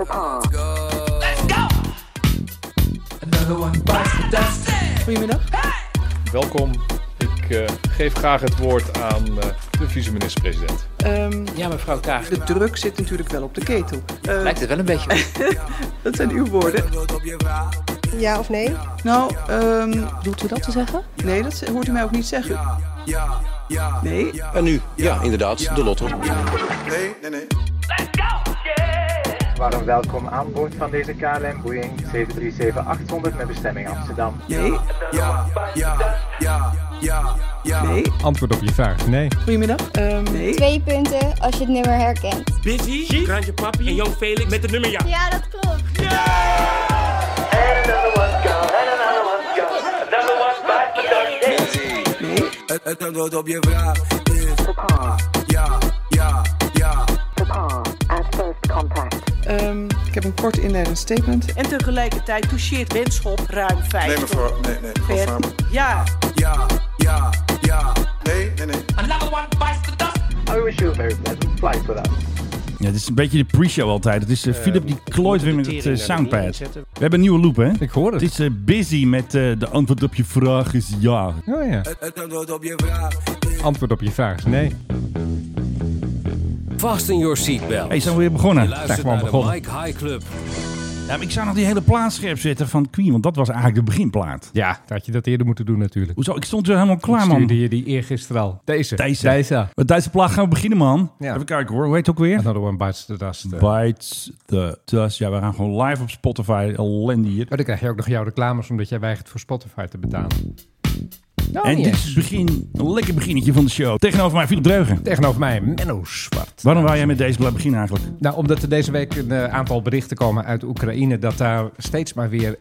Uh. Let's go. Another one bites the dust. Goedemiddag. Welkom. Ik eh, geef graag het woord aan eh, de vice-minister-president. Ehm, Ja, mevrouw Kaag. de druk zit natuurlijk wel op de ketel. Eh, Lijkt het wel een beetje. op. dat zijn uw woorden. Ja of nee? Nou, ehm, Doet u dat te zeggen? nee, dat hoort u mij ook niet zeggen. Nee, En nu, ja, inderdaad, de lotto. Warm welkom aan boord van deze KLM Boeing 737-800 met bestemming Amsterdam. nee. Nee, Antwoord op je vraag, nee. goedemiddag. Ehm, nee. Twee punten als je het nummer herkent. Busy, Kraantje Papi en Jo Felix met het nummer ja. Ja, dat klopt. Het, het antwoord op je vraag is. Ja, ja, ja. Ehm, ik heb een kort inleidend statement. En tegelijkertijd toucheert Benschop ruim 5. Nee, mevrouw, nee, nee, mevrouw per Faber. jaar. Ja, ja, ja. Nee, nee, nee. Another one bites the dust. I wish you a very pleasant flight with us. Ja, dit is een beetje de pre-show altijd. Het is eh, Philip die klooit weer met het eh, soundpad. We hebben een nieuwe loop, hè? Ik hoor Het het. is eh, busy met eh, de antwoord op je vraag is ja. Oh ja. Het, het antwoord op je vraag is. Antwoord op je vraag, nee. Vast in your seatbelt. Hey, zijn we weer begonnen? Je luistert gewoon naar de begonnen. Mike High Club. Ja, maar ik zou nog die hele plaat scherp zetten van Queen, want dat was eigenlijk de beginplaat. Ja, dan had je dat eerder moeten doen natuurlijk. Hoezo? Ik stond er helemaal klaar, Ik man. stuurde je die eergisteren al. Deze. Deze. Met Duitse plaat gaan we beginnen, man. Even kijken hoor, hoe heet het ook weer? Another one bites the dust. eh. Bites the Dust. Ja, we gaan gewoon live op Spotify. Ellende hier. Maar dan krijg je ook nog jouw reclames omdat jij weigert voor Spotify te betalen. Nou, en niet dit eens. is het begin, een lekker beginnetje van de show. Tegenover mij, Philip Dreugen. Tegenover mij, Menno Zwart. Waarom wou jij met deze plaat beginnen eigenlijk? Nou, omdat er deze week een eh, aantal berichten komen uit Oekraïne dat daar steeds maar weer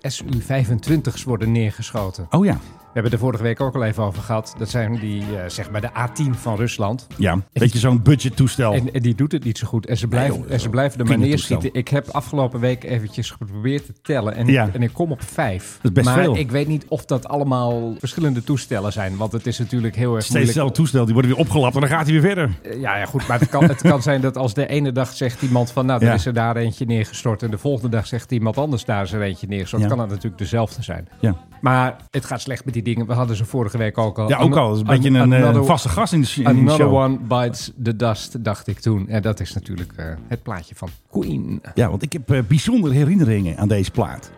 SU-25's worden neergeschoten. Oh ja, We hebben er vorige week ook al even over gehad. Dat zijn die, eh, zeg maar, de A10 van Rusland. ja. Weet je, zo'n budgettoestel. En, en die doet het niet zo goed. En ze blijven, Oh. joh, en ze blijven er maar kindertoestel. neerschieten. Ik heb afgelopen week eventjes geprobeerd te tellen. En, Ja. en ik kom op vijf. is best maar veel. ik weet niet of dat allemaal verschillende toestellen zijn. Want het is natuurlijk heel erg Steeds moeilijk. hetzelfde toestel, die wordt weer opgelapt en dan gaat hij weer verder. Eh, Ja, ja, goed. Maar het kan, het kan zijn dat als de ene dag zegt iemand van... nou, er Ja. is er daar eentje neergestort. En de volgende dag zegt iemand anders daar is er eentje neergestort. Ja. Kan dat natuurlijk dezelfde zijn. Ja, Maar het gaat slecht met die dingen. We hadden ze vorige week ook al. ja ook al. Dat is een beetje een eh, another- vaste gast in de, in de Another show. one bites the dust, dacht ik toen. En dat is natuurlijk eh, het plaatje van Queen. Ja, want ik heb eh, bijzondere herinneringen aan deze plaat.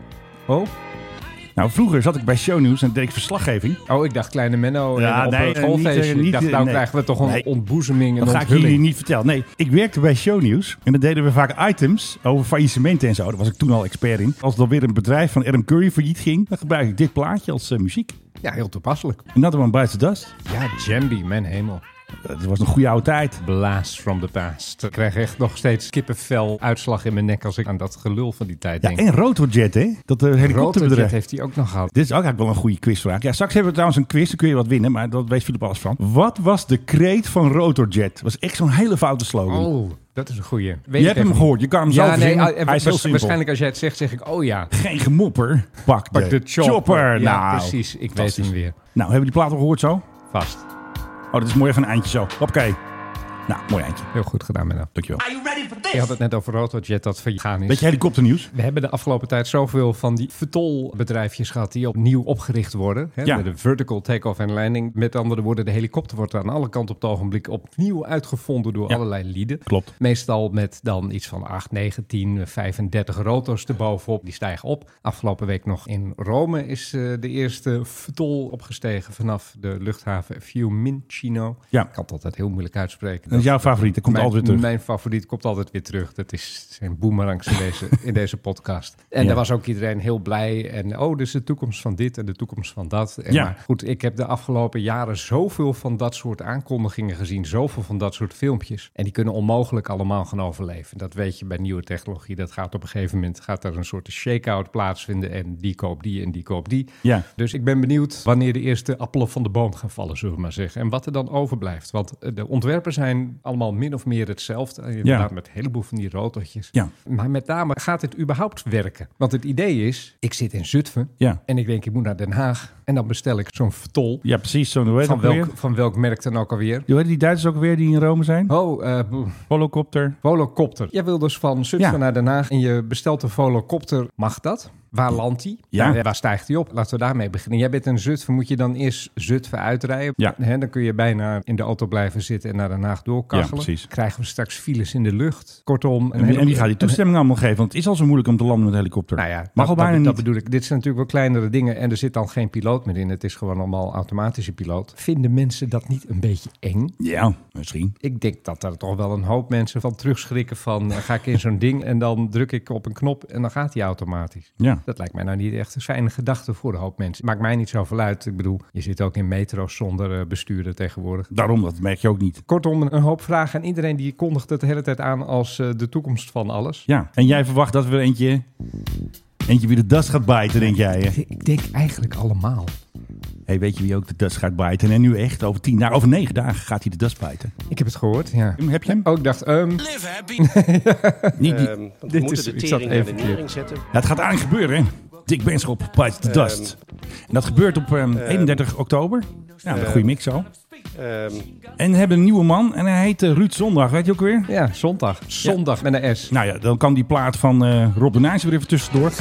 Oh, Nou, vroeger zat ik bij Shownieuws en deed ik verslaggeving. oh ik dacht Kleine Menno Ja, en op nee, het eh, schoolfeestje. niet, eh, ik dacht, niet, nou eh, krijgen we toch een nee. ontboezeming en Dat ga ik jullie onthulling. niet vertellen. Nee, ik werkte bij Shownieuws en dan deden we vaak items over faillissementen en zo. Daar was ik toen al expert in. Als dan weer een bedrijf van Adam Curry failliet ging, dan gebruik ik dit plaatje als eh, muziek. Ja, heel toepasselijk. Another One Bites the Dust. Ja, Jambi, mijn hemel. Dat was een goede oude tijd. Blast from the past. Ik krijg echt nog steeds kippenvel uitslag in mijn nek als ik aan dat gelul van die tijd Ja, denk. en Rotorjet, hè? Dat eh, helikopterbedrijf. Rotorjet heeft hij ook nog gehad. Dit is ook eigenlijk wel een goede quizvraag. Ja, straks hebben we trouwens een quiz, dan kun je wat winnen, maar dat weet Philip alles van. Wat was de kreet van Rotorjet? Dat was echt zo'n hele foute slogan. Oh, dat is een goeie. Weet je ik hebt hem even gehoord, je kan hem niet. zo Ja, nee, verzinnen. ah, eh, Hij is heel waarsch- simpel. waarschijnlijk als jij het zegt, zeg ik, oh ja. Geen gemopper, pak, Pak de chopper. Ja, Nou, precies. Ik weet fantastisch. hem weer. Nou, hebben we die plaat al gehoord zo? Vast. Oh, dat is mooi even een eindje zo. Oké. Nou, mooi eindje. Heel goed gedaan, Menno. Dankjewel. Are you ready for Je this? had het net over Rotorjet dat vergaan is. Weet je helikopternieuws? We hebben de afgelopen tijd zoveel van die vertolbedrijfjes gehad die opnieuw opgericht worden. Hè? Ja. Met een vertical take-off en landing. Met andere woorden, de helikopter wordt aan alle kanten op het ogenblik opnieuw uitgevonden door Ja. allerlei lieden. Klopt. Meestal met dan iets van 8, 9, 10, 35 rotos erbovenop. Die stijgen op. Afgelopen week nog in Rome is eh, de eerste vertol opgestegen vanaf de luchthaven Fiumicino. Ja. Ik kan het altijd heel moeilijk uitspreken. Dat is jouw favoriet, dat komt mijn, altijd weer terug. Mijn favoriet komt altijd weer terug. Dat is zijn boemerangs in deze, in deze podcast. En Ja. daar was ook iedereen heel blij. En oh, dus de toekomst van dit en de toekomst van dat. En Ja. maar goed, ik heb de afgelopen jaren zoveel van dat soort aankondigingen gezien. Zoveel van dat soort filmpjes. En die kunnen onmogelijk allemaal gaan overleven. Dat weet je bij nieuwe technologie. Dat gaat op een gegeven moment, gaat daar een soort shakeout plaatsvinden. En die koopt die en die koopt die. Ja. Dus ik ben benieuwd wanneer de eerste appelen van de boom gaan vallen, zullen we maar zeggen. En wat er dan overblijft. Want eh, de ontwerpen zijn allemaal min of meer hetzelfde. Eh, Inderdaad, met een heleboel van die rotortjes. Ja. Maar met name gaat het überhaupt werken? Want het idee is, ik zit in Zutphen Ja. en ik denk, ik moet naar Den Haag. En dan bestel ik zo'n tol. Ja, precies. Zo'n hoe heet van dat ook welk, weer? van welk merk dan ook alweer? Hoe heet die Duitsers ook weer die in Rome zijn? Oh, eh, boe. Holocopter. volocopter. Jij wil dus van Zutphen Ja. naar Den Haag en je bestelt een volocopter. Mag dat? Waar landt die? Ja. Waar, waar stijgt die op? Laten we daarmee beginnen. Jij bent een Zutphen, moet je dan eerst Zutphen uitrijden? Ja. Hè, dan kun je bijna in de auto blijven zitten en naar Den Haag doorkachelen. Ja, precies. Krijgen we straks files in de lucht. Kortom. een En, wie- hele- en wie gaat die een- toestemming allemaal geven? Want het is al zo moeilijk om te landen met een helikopter. Nou ja, Mag dat, al dat- bijna dat niet. bedoel ik. Dit zijn natuurlijk wel kleinere dingen en er zit dan geen piloot meer in. Het is gewoon allemaal automatische piloot. Vinden mensen dat niet een beetje eng? Ja, misschien. Ik denk dat er toch wel een hoop mensen van terugschrikken van... eh, ga ik in zo'n ding en dan druk ik op een knop en dan gaat die automatisch. Ja. Dat lijkt mij nou niet echt een fijne gedachte voor een hoop mensen. Maakt mij niet zoveel uit. Ik bedoel, je zit ook in metro's zonder eh, bestuurder tegenwoordig. Daarom, dat merk je ook niet. Kortom, een hoop vragen en iedereen die kondigt het de hele tijd aan als eh, de toekomst van alles. Ja. En jij verwacht dat we er eentje, eentje wie de das gaat bijten, denk jij. hè? Ik denk eigenlijk allemaal. hey, weet je wie ook de das gaat bijten? En nu echt, over tien dagen, over negen dagen gaat hij de das bijten. Ik heb het gehoord, ja. Heb je hem? Ook dacht, ehm, Live happy. Oh, Niet die. Dit Dit is- moeten de ik tering naar zat de even verkeerd. nering zetten. Ja, het gaat aan gebeuren, hè? Dick Benschop, bijt de dust. En dat gebeurt op ehm, 31 oktober. Ja, een Ehm. goede mix zo. Ehm, En we hebben een nieuwe man en hij heet eh, Ruud Zondag, weet je ook weer? ja, zondag. Zondag met een S. Nou ja, dan kan die plaat van eh, Rob de Nijs weer even tussendoor.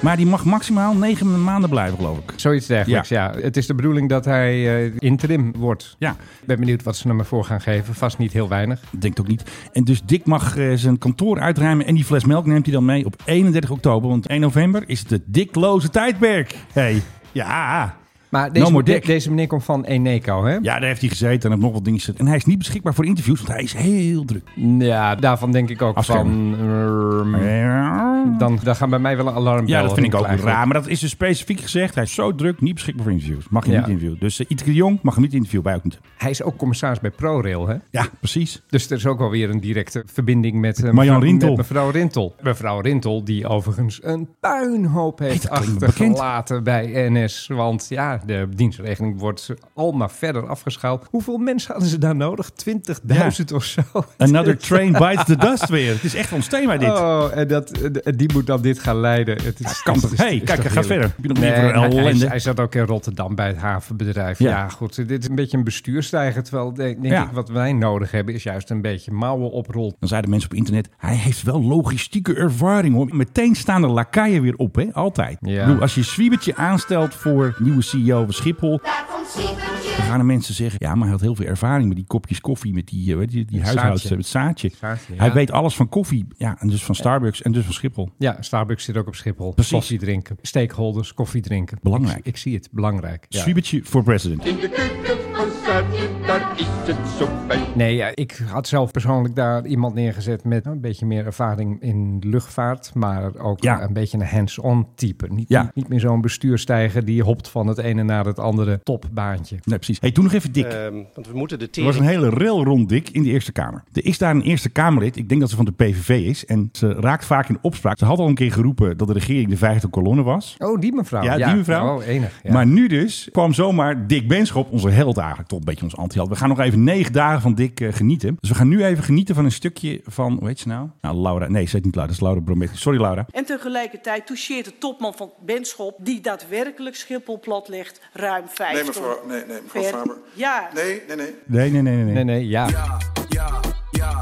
Maar die mag maximaal negen maanden blijven, geloof ik. Zoiets dergelijks, ja. Het is de bedoeling dat hij eh, interim wordt. Ja, Ik ben benieuwd wat ze hem voor gaan geven. Vast niet heel weinig. denkt ook niet. En dus Dick mag eh, zijn kantoor uitruimen en die fles melk neemt hij dan mee op 31 oktober. Want 1 november is het het dikloze tijdperk. hey. ja. Maar No deze, more de- dick. deze meneer komt van Eneco, hè? Ja, daar heeft hij gezeten en heeft nog wat dingen gezet. En hij is niet beschikbaar voor interviews, want hij is heel druk. Ja, daarvan denk ik ook Afschermen. van... ehm, dan, dan gaan bij mij wel een alarmbel. Ja, dat Mm. vind ik ook rinkelen raar. eigenlijk. Maar dat is dus specifiek gezegd. Hij is zo druk, niet beschikbaar voor interviews. Mag je Ja. niet interviewen. Dus uh, Itke de Jong mag hem niet interviewen. Wij ook niet. Hij is ook commissaris bij ProRail, hè? Ja, precies. Dus er is ook wel weer een directe verbinding met, eh, Marjan mevrouw- Rintel. met mevrouw Rintel. Mevrouw Rintel, die overigens een puinhoop heeft dat klinkt bekend. achtergelaten bij NS. Want ja, de dienstregeling wordt al maar verder afgeschaald. Hoeveel mensen hadden ze daar nodig? 20.000 of zo? Another train bites the dust weer. Het is echt ons thema dit. Oh, en dat, eh, die moet dan dit gaan leiden. Het is, kan het toch- is- hey, het is kijk, toch hij gaat heerlijk. verder. Heb je nog meer Nee, voor een hij, hij, ellende? hij zat ook in Rotterdam bij het havenbedrijf. Ja, Ja. goed. Dit is een beetje een bestuursstijgend. Terwijl denk, denk Ja. ik, wat wij nodig hebben is juist een beetje mouwen oprol. Dan zeiden mensen op internet, hij heeft wel logistieke ervaring hoor. Meteen staan de lakaien weer op, hè? Altijd. Ja. Ik bedoel, als je Swiebertje aanstelt voor nieuwe CEO van Schiphol, dan gaan de mensen zeggen, ja, maar hij had heel veel ervaring met die kopjes koffie, met die, eh, weet je, die Het huishoudens, zaadje. met het zaadje. Zaadje, ja. Hij weet alles van koffie, ja, en dus van Starbucks en dus van Schiphol. Ja, Starbucks zit ook op Schiphol. Precies. Koffie drinken, stakeholders, koffie drinken. Belangrijk. Ik, ik zie het, belangrijk. Ja. Swiebertje voor president. Nee, ja, ik had zelf persoonlijk daar iemand neergezet met een beetje meer ervaring in luchtvaart. Maar ook Ja. een beetje een hands-on type. Niet, Ja. niet, niet meer zo'n bestuurstijger die hopt van het ene naar het andere topbaantje. Nee, precies. Hey, toen nog even Dick. ehm, want we moeten de Er was tering... een hele rel rond Dick in de Eerste Kamer. Er is daar een Eerste Kamerlid, ik denk dat ze van de PVV is, en ze raakt vaak in opspraak. Ze had al een keer geroepen dat de regering de vijfde kolonne was. Oh, die mevrouw. Ja, die mevrouw. Oh, enig. ja. Maar nu dus kwam zomaar Dick Benschop, onze held eigenlijk, tot een beetje ons anti-held. We gaan nog even negen dagen van Dick eh, genieten. Dus we gaan nu even genieten van een stukje van, hoe heet ze nou? Nou, Laura. Nee, ze heet niet Laura, dat is Laura Bromet. Sorry, Laura. En tegelijkertijd toucheert de topman van Benschop... die daadwerkelijk Schiphol platlegt, ruim 50. Nee, mevrouw, nee, nee, mevrouw Ver- Faber. Ja, Nee, nee, nee. Nee, nee, nee, nee. Nee, nee, ja.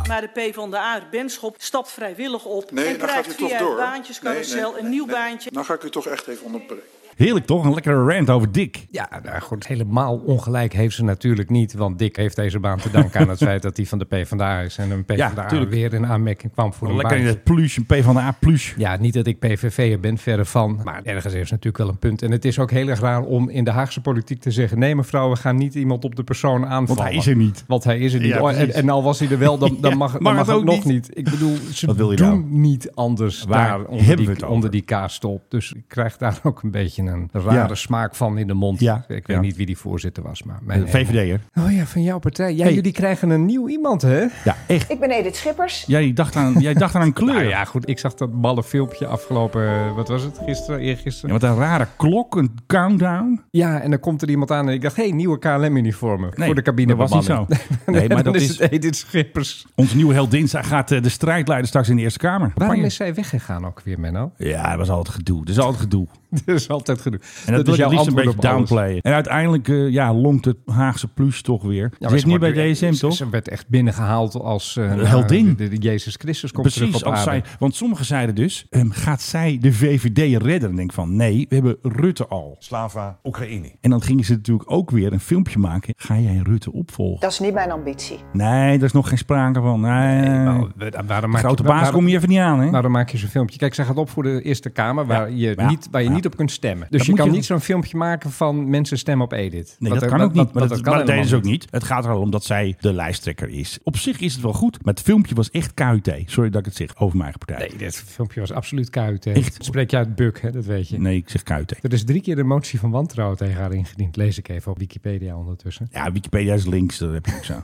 maar de PvdA, Benschop, stapt vrijwillig op... Nee, en dan gaat u krijgt toch via door. het baantjescarousel Nee, nee, nee, een nieuw nee. baantje. Nou ga ik u toch echt even onderbreken. Heerlijk toch? Een lekkere rant over Dick. Ja, nou goed, helemaal ongelijk heeft ze natuurlijk niet. Want Dick heeft deze baan te danken aan het feit dat hij van de PvdA is. En een PvdA tuurlijk. weer in aanmerking kwam voor een Lekker in baantje. het plus, een P van de A plus. Ja, niet dat ik PVV'er ben, verre van. Maar ergens heeft ze natuurlijk wel een punt. En het is ook heel erg raar om in de Haagse politiek te zeggen... nee mevrouw, we gaan niet iemand op de persoon aanvallen. Want hij is er niet. Want hij is er niet. Ja, Oh, en, precies. en al was hij er wel, dan, dan Ja, mag, dan mag het mag het ook nog niet. niet. Ik bedoel, ze Wat wil je doen nou? niet anders Waar daar onder hebben we het die, over? onder die kaastop. Dus ik krijg daar ook een beetje een rare Ja. smaak van in de mond. Ja, Ik weet ja. niet wie die voorzitter was, maar... Mijn De VVD'er. Oh ja, van jouw partij. Ja, Hey. jullie krijgen een nieuw iemand, hè? Ja, echt. Ik ben Edith Schippers. Jij dacht aan, jij dacht aan een kleur. Nou ja, goed. Ik zag dat malle filmpje afgelopen... eh, Wat was het? Gisteren? Eergisteren? Ja, wat een rare klok, een countdown. Ja, en dan komt er iemand aan en ik dacht, hé, hey, nieuwe KLM-uniformen Nee, voor de cabine. dat was bemanning. niet zo. nee, Nee, maar maar dan dat is is- het Edith Schippers. Onze nieuwe heldin zij gaat eh, de strijd leiden straks in de Eerste Kamer. Waarom Campagne. is zij weggegaan ook weer, Menno? Ja, dat was altijd gedoe. Dat is altijd gedoe. dat is altijd genoeg. En dat, is is jouw jouw liefst een antwoord beetje op alles. downplayen. En uiteindelijk eh, ja, longt het Haagse plus toch weer. Ja, Zit maar niet bij wordt weer- DSM, ze- toch? Ze werd echt binnengehaald als eh, nou, heldin. de, de Jezus Christus komt Precies, terug op als aarde. zij, want sommigen zeiden dus, ehm, gaat zij de VVD redden? En denk van, nee, we hebben Rutte al. Slava, Oekraïne. En dan gingen ze natuurlijk ook weer een filmpje maken. Ga jij Rutte opvolgen? Dat is niet mijn ambitie. Nee, daar is nog geen sprake van. Nee, Nou, Waarom eh, De maak grote je- baas waarom- kom je even niet aan, hè? Waarom maak je zo'n filmpje? Kijk, zij gaat op voor de Eerste Kamer, waar Ja, je, ja, niet, waar je ja. niet op kunt stemmen. Dus Dat je moet kan je- niet zo'n filmpje maken van mensen stemmen op Edith. Nee, Wat dat er- kan wat- ook niet. wat- Maar wat- dat, kan maar dat deden helemaal ze ook niet. Het gaat erom dat zij de lijsttrekker is. Op zich is het wel goed, maar het filmpje was echt KUT. Sorry dat ik het zeg over mijn eigen partij. Nee, dit filmpje was absoluut KUT. Echt? Spreek je uit Buk, hè? dat weet je. Nee, ik zeg KUT. Er is drie keer de motie van wantrouwen tegen haar ingediend. Lees ik even op Wikipedia ondertussen. Ja, Wikipedia is links, dat heb je ook zo. ja,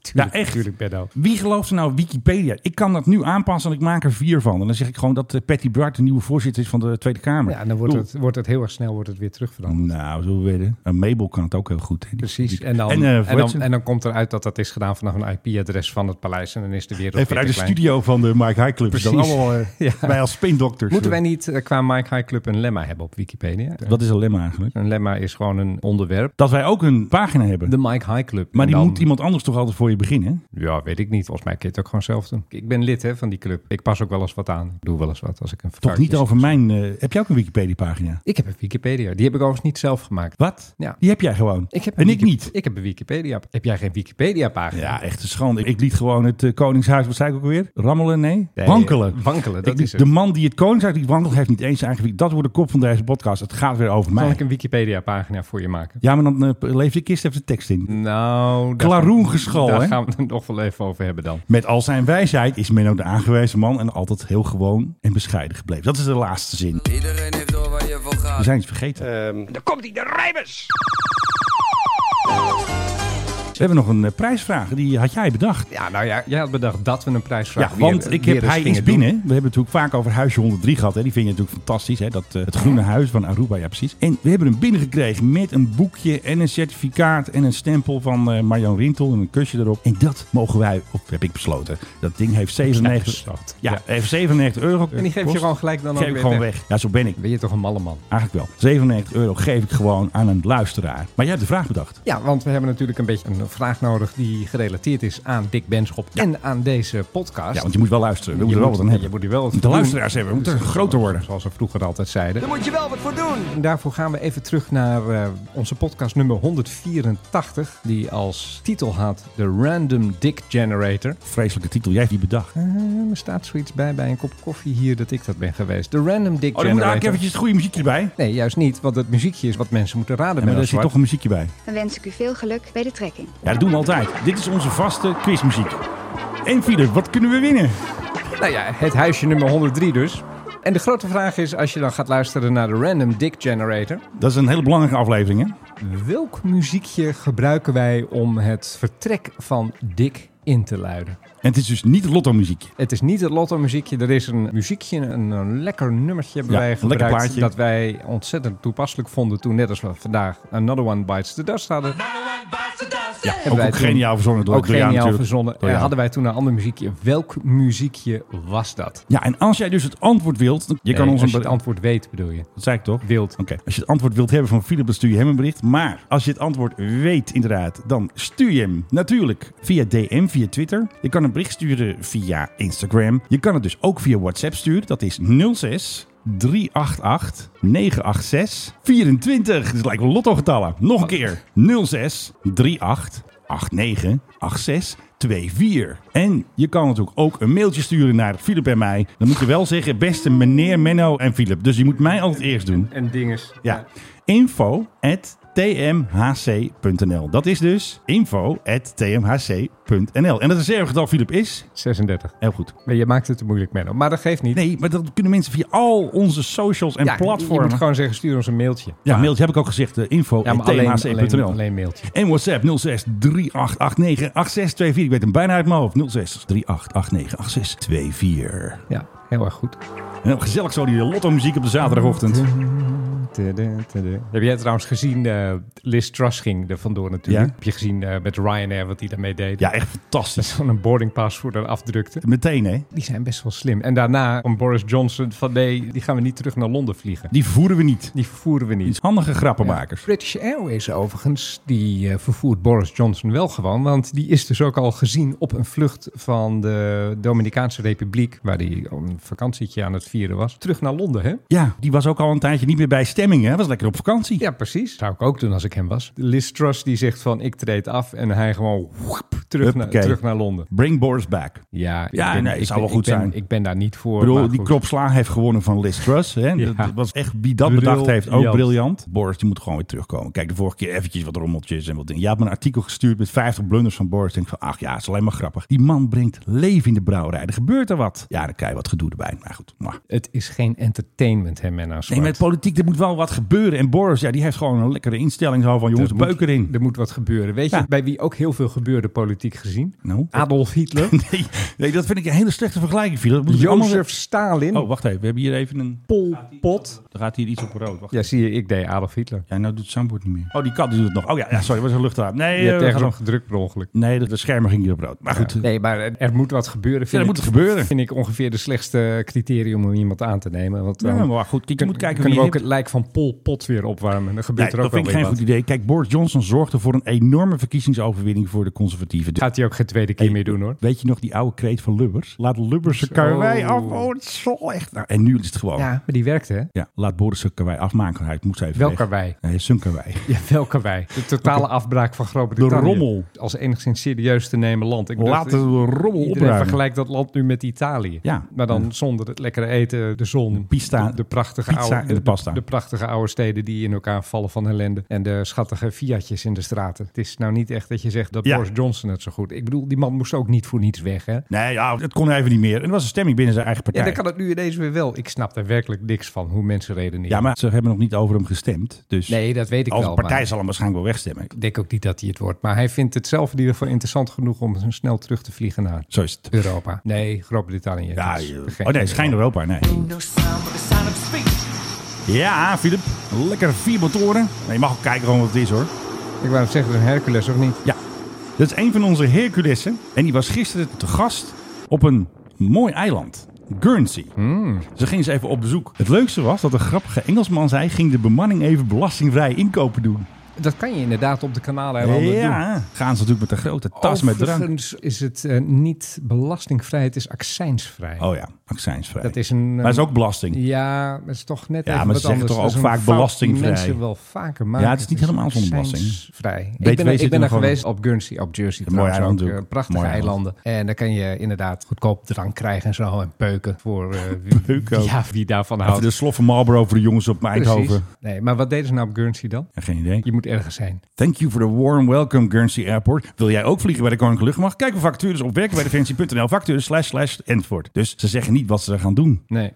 tuurlijk, echt. Tuurlijk, Benno. Wie gelooft er nou Wikipedia? Ik kan dat nu aanpassen en ik maak er vier van. En dan zeg ik gewoon dat eh, Patty Bart de nieuwe voorzitter is van de Tweede Kamer. Ja, en dan wordt Doe. het, wordt het heel erg snel wordt het weer terugveranderd. Nou, zo weten. Een Mabel kan het ook heel goed. hè. Die- Precies. die- En dan, en, en, eh, hoe heet dan, ze? en dan komt eruit dat dat is gedaan vanaf een IP-adres van het paleis. En dan is de wereld Even weer uit te de klein. studio van de Mike High Club. Precies. Dan allemaal, eh, Ja. Wij als spindokters. Moeten wij niet eh, qua Mike High Club een lemma hebben op Wikipedia? Wat is een lemma eigenlijk? Een lemma is gewoon een onderwerp. Dat wij ook een pagina hebben. De Nou, Mike High Club. Maar En die dan- moet iemand anders toch altijd voor je beginnen? hè? Ja, weet ik niet. Volgens mij kun je het ook gewoon zelf doen. Ik ben lid hè, van die club. Ik pas ook wel eens wat aan. Ik doe wel eens wat als ik een Toch niet over mijn... eh, heb jij ook een Wikipedia-pagina? Ik heb een Wikipedia. Die heb ik overigens niet zelf gemaakt. Wat? Ja. Die heb jij gewoon. Ik heb en een ik Wiki- niet. Ik heb een Wikipedia. Heb jij geen Wikipedia-pagina? Ja, echt een schande. Ik- Ik liet gewoon het eh, Koningshuis, wat zei ik ook weer? Rammelen, nee? Nee, wankelen. wankelen, dat Ik- is het. De man die het Koningshuis liet wankelen, heeft niet eens zijn eigen... wiki- Dat wordt de kop van deze podcast. Het gaat weer over Zal mij. ik een Wikipedia-pagina voor je maken? Ja, maar dan eh, leef je kist even de tekst in. Nou, daar Klaroengeschal, gaan, hè? daar gaan we het nog wel even over hebben dan. Met al zijn wijsheid is Menno de aangewezen man en altijd heel gewoon en bescheiden gebleven. Dat is de laatste zin. Iedereen heeft door waar je voor gaat. We zijn iets vergeten. Eh. Daar komt hij, de Rijmers! We hebben nog een eh, prijsvraag. Die had jij bedacht. Ja, nou ja, jij had bedacht dat we een prijs Ja, vragen. want ik heb, hij is binnen. We hebben het natuurlijk vaak over huisje 103 gehad. Hè. Die vind je natuurlijk fantastisch. Hè. Dat, eh, het groene huis van Aruba, ja precies. En we hebben hem binnengekregen met een boekje en een certificaat en een stempel van eh Marjan Rintel en een kusje erop. En dat mogen wij, of heb ik besloten. Dat ding heeft 97, besloten. ja, heeft 97 euro En die geef je gekost. gewoon gelijk dan ook Geef ik weer gewoon weg. weg. Ja, zo ben ik. Ben je toch een malle man? Eigenlijk wel. 97 euro geef ik gewoon aan een luisteraar. Maar jij hebt de vraag bedacht. Ja, want we hebben natuurlijk een beetje een vraag nodig die gerelateerd is aan Dick Benschop en aan deze podcast. Ja, want je moet wel luisteren. We moeten er wel wat aan moet- hebben. Je moet hier wel wat De voor doen. luisteraars hebben. We moeten Dus, groter worden. Zoals we vroeger altijd zeiden. Daar moet je wel wat voor doen! En daarvoor gaan we even terug naar eh, onze podcast nummer 184. Die als titel had de Random Dick Generator. Vreselijke titel. Jij hebt die bedacht. Oh, Eh, er staat zoiets bij bij een kop koffie hier dat ik dat ben geweest. De Random Dick Oh, dan moet Generator. eigenlijk eventjes het goede muziekje erbij. Ja, Nee, juist niet. Want het muziekje is wat mensen moeten raden maar bij daar zit toch een muziekje bij. Dan wens ik u veel geluk bij de trekking. Ja, dat doen we altijd. Dit is onze vaste quizmuziek. En Philip, wat kunnen we winnen? Nou ja, het huisje nummer 103 dus. En de grote vraag is, als je dan gaat luisteren naar de Random Dick Generator... Dat is een hele belangrijke aflevering, hè? Welk muziekje gebruiken wij om het vertrek van Dick in te luiden? En het is dus niet het lotto-muziekje. Het is niet het lotto-muziekje. Er is een muziekje, een, een lekker nummertje hebben Ja, wij een lekker gebruikt... plaatje. dat wij ontzettend toepasselijk vonden toen, net als we vandaag... Another One Bites the Dust hadden. Ja, Hebben ook, wij ook toen- geniaal verzonnen door, Ook door jou geniaal natuurlijk. verzonnen. Door Eh, jou. hadden wij toen een ander muziekje. Welk muziekje was dat? Ja, en als jij dus het antwoord wilt... dan- Je kan Nee, ons als een je het be- antwoord weet, bedoel je. Dat zei ik toch? Wild. Oké, als je het antwoord wilt hebben van Philip, dan stuur je hem een bericht. Maar als je het antwoord weet, inderdaad, dan stuur je hem natuurlijk via DM, via Twitter. Je kan een bericht sturen via Instagram. Je kan het dus ook via WhatsApp sturen. Dat is 06 388 986 24. Dat lijkt wel lottogetallen. Nog een keer. 06 38 898624. En je kan natuurlijk ook een mailtje sturen naar Philip en mij. Dan moet je wel zeggen, beste meneer Menno en Philip. Dus je moet mij altijd eerst doen. En dinges. Ja. Info at tmhc.nl. Dat is dus info at tmhc.nl. En dat is erg getal Philip is. 36. Heel goed. Maar je maakt het te moeilijk, Menno. Maar dat geeft niet. Nee, maar dat kunnen mensen via al onze socials en Ja, Je platformen. moet gewoon zeggen, stuur ons een mailtje. Ja, mailtje heb ik ook gezegd. eh, info Ja, maar at alleen, tmhc.nl. alleen, alleen mailtje. En WhatsApp 06 3889 8624. Ik weet hem bijna uit mijn hoofd. 06 3889 8624. Ja, heel erg goed. En ook Nou, gezellig zo die lotto-muziek op de zaterdagochtend. Tudu, tudu. Heb jij trouwens gezien, eh Liz Truss ging er vandoor natuurlijk. Ja. Heb je gezien eh, met Ryanair wat hij daarmee deed? Ja, echt fantastisch. Zo'n boarding pass voor daar afdrukte. Meteen, hè? Die zijn best wel slim. En daarna kwam Boris Johnson van nee, die gaan we niet terug naar Londen vliegen. Die voeren we niet. Die voeren we niet. Iets handige grappenmakers. British Airways overigens, die eh, vervoert Boris Johnson wel gewoon. Want die is dus ook al gezien op een vlucht van de Dominicaanse Republiek, waar hij een vakantietje aan het vieren was, terug naar Londen. Hè? Ja, die was ook al een tijdje niet meer bij stemming, hè? Was lekker op vakantie. Ja, precies. Zou ik ook doen als ik hem was. Liz Truss die zegt van ik treed af en hij gewoon woep, terug, naar, Huppakee. terug naar Londen. Bring Boris back. Ja, Ja, ik ben- nee, ik zou ben- wel goed ik ben- zijn. Ik ben daar niet voor. Ik bedoel, maar die goed. Kropsla heeft gewonnen van Liz Truss. Hè? Ja. Dat was echt, wie dat bedacht heeft, ook Briljant. briljant. Boris, die moet gewoon weer terugkomen. Kijk, de vorige keer eventjes wat rommeltjes en wat dingen. Je had me een artikel gestuurd met 50 blunders van Boris. Denk van, ach ja, het is alleen maar grappig. Die man brengt leven in de brouwerij. Er gebeurt er wat. Ja, dan krijg je wat gedoe erbij. Maar goed, maar. Het is geen entertainment, hè, Menno Zwart. Nee, met politiek, er moet wel wat gebeuren. En Boris, ja, die heeft gewoon een lekkere instelling. Zo van, jongens, Er moet- beuk erin. Er moet wat gebeuren. Weet Ja. je bij wie ook heel veel gebeurde politiek gezien? Nou? Adolf Hitler. Nee, nee, dat vind ik een hele slechte vergelijking, Philip. Dat moet ik allemaal- Jozef Stalin. Oh, wacht even. We hebben hier even een... Pol Pot. Er gaat hier iets op rood. Wacht. Ja, zie je, ik deed Adolf Hitler. Ja, nou doet het soundboard niet meer. Oh, die kat die doet het nog. Oh ja, ja sorry, was een luchtruim. Nee, Je eh, hebt we ergens gaan op gedrukt per ongeluk. nog- nee de, de schermen gingen hier op rood. Maar goed, eh, Nee, maar er- er moet wat gebeuren. er Vind moet ik, wat gebeuren. Vind ik ongeveer de slechtste criterium om iemand aan te nemen. Want dan ja, maar goed, kijk, je kun- moet kijken wie kunnen we je ook het hebt. lijk van Pol Pot weer opwarmen. Dan Nee, gebeurt er dat ook wel vind ik weer geen wat. goed idee. Kijk, Boris Johnson zorgde voor een enorme verkiezingsoverwinning voor de conservatieven. Dus- Gaat hij ook geen tweede keer meer doen, hoor. Weet je nog die oude kreet van Lubbers? Laat Lubbers zijn Zo. karwei af. Oh, het is zo echt. Nou, en nu is het gewoon. Ja, Ja, maar die werkte, hè? laat Boris zijn karwei afmaken. Hij moest even Welk weg. karwei? Nee, zijn karwei. Ja, welke wij? De totale afbraak van Groot-Brittannië. De rommel. Als enigszins serieus te nemen land. Ik Laten we de rommel iedereen opruimen. vergelijkt dat land nu met Italië. Ja. Maar dan zonder het lekkere eten, de zon, de pista, de, prachtige pizza oude, en de pasta. De, prachtige oude steden die in elkaar vallen van ellende. En de schattige Fiatjes in de straten. Het is nou niet echt dat je zegt dat Ja. Boris Johnson het zo goed... Ik bedoel, die man moest ook niet voor niets weg, hè? Nee, ja, het kon even niet meer. En er was een stemming binnen zijn eigen Ja, partij. dan kan het nu ineens weer wel. Ik snap daar werkelijk niks van, hoe mensen redeneren. Ja, maar ze hebben nog niet over hem gestemd. Dus Nee, dat weet ik als wel. partij maar- zal hem waarschijnlijk wel wegstemmen. Ik denk ook niet dat hij het wordt. Maar hij vindt het zelf in ieder geval interessant genoeg om snel terug te vliegen naar Zo is het. Europa. Nee, Groot-Brittannië. Ja, Dat is joh. geen- oh nee, schijn Europa, nee. Ja, Filip. Lekker vier motoren. Nou, je mag ook kijken gewoon wat het is hoor. Ik wou het zeggen, het is een Hercules of niet? Ja, dat is een van onze Herculessen. En die was gisteren te gast op een mooi eiland. Guernsey. Hmm. Ze gingen ze even op bezoek. Het leukste was dat een grappige Engelsman zei... ging de bemanning even belastingvrij inkopen doen. Dat kan je inderdaad op de kanaaleilanden doen. Ja, gaan ze natuurlijk met een grote tas met drank. Overigens is het eh, niet belastingvrij, het is accijnsvrij. Oh ja, accijnsvrij. Dat is een... eh, maar dat is ook belasting. Ja, dat is toch net Ja, even maar wat ze zeggen anders. toch Dat ook is een vaak fout die belastingvrij. mensen wel vaker maken. Ja, het is niet helemaal zonder belasting. Vrij. BTW Ik ben, er- zit ik er ben er gewoon in. geweest op Guernsey, op Jersey. Een trouwens mooi eiland ook, ook. eh, prachtige Mooi eiland. eilanden. En daar kan je inderdaad goedkoop drank krijgen en zo. En peuken voor eh, wie, Peuken ook. ja, wie daarvan Even houdt. de sloffen Marlboro voor de jongens op Precies. Eindhoven. Nee, maar wat deden ze nou op Guernsey dan? Ja, geen idee. Je moet ergens zijn. Thank you for the warm welcome, Guernsey Airport. Wil jij ook vliegen bij de Koninklijke Luchtmacht? Kijk voor vacatures op werkenbijdefensie.nl. Vacatures slash slash Antwoord. Dus ze zeggen niet wat ze gaan doen. Nee.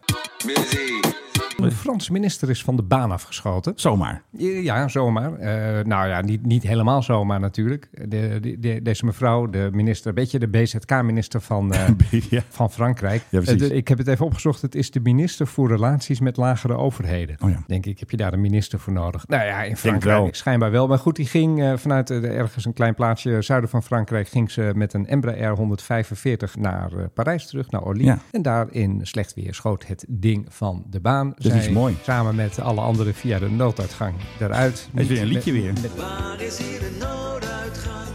De Franse minister is van de baan afgeschoten. Zomaar. Ja, zomaar. Eh, nou ja, niet, niet helemaal zomaar natuurlijk. De, de, de- deze mevrouw, de minister, een beetje de BZK-minister van, eh, ja. van Frankrijk. Ja, precies. Eh, de- ik heb het even opgezocht. Het is de minister voor relaties met lagere overheden. Oh ja. Denk ik, heb je daar een minister voor nodig? Nou ja, in Frankrijk wel. schijnbaar wel. Maar goed, die ging eh, vanuit eh, ergens een klein plaatsje zuiden van Frankrijk... ging ze met een Embraer 145 naar eh, Parijs terug, naar Orly. Ja. En daar in slecht weer schoot het ding van de baan. Dat is Zij mooi. Samen met alle anderen via de nooduitgang eruit. Hij is weer een liedje weer.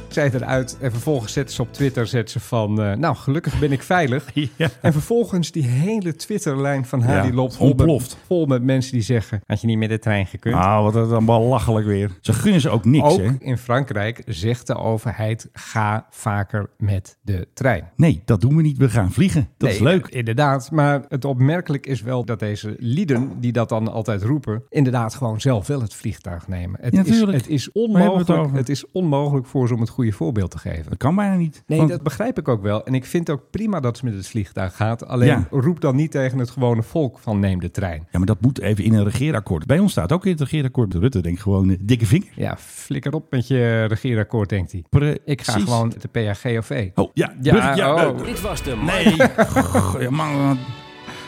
Zij eruit en vervolgens zet ze op Twitter zet ze van... eh, nou, gelukkig ben ik veilig. Ja. En vervolgens die hele Twitterlijn van haar Ja, die loopt vol met, ontploft. vol met mensen die zeggen... Had je niet met de trein gekund? Ah, wat dat dan belachelijk weer. Ze gunnen ze ook niks, Ook hè? in Frankrijk zegt de overheid... ga vaker met de trein. Nee, dat doen we niet. We gaan vliegen. Dat is Nee, eh, leuk. Inderdaad, maar het opmerkelijk is wel dat deze lieden, die dat dan altijd roepen, inderdaad gewoon zelf wel het vliegtuig nemen. Het, Ja, is, tuurlijk. het, is, Waar hebben we het onmogelijk, het, over? is onmogelijk voor ze om het goede voorbeeld te geven. Dat kan bijna niet. Nee, Want- dat begrijp ik ook wel. En ik vind ook prima dat ze met het vliegtuig gaat. Alleen Ja. roep dan niet tegen het gewone volk van neem de trein. Ja, maar dat moet even in een regeerakkoord. Bij ons staat ook in het regeerakkoord. Rutte denkt gewoon eh, dikke vinger. Ja, flikker op met je regeerakkoord, denkt hij. Ik ga Precies. gewoon de PHGOV. Oh, ja. Ja, Brugge- ja, oh. leuk. Dit was de man. Nee. Goh, ja, man.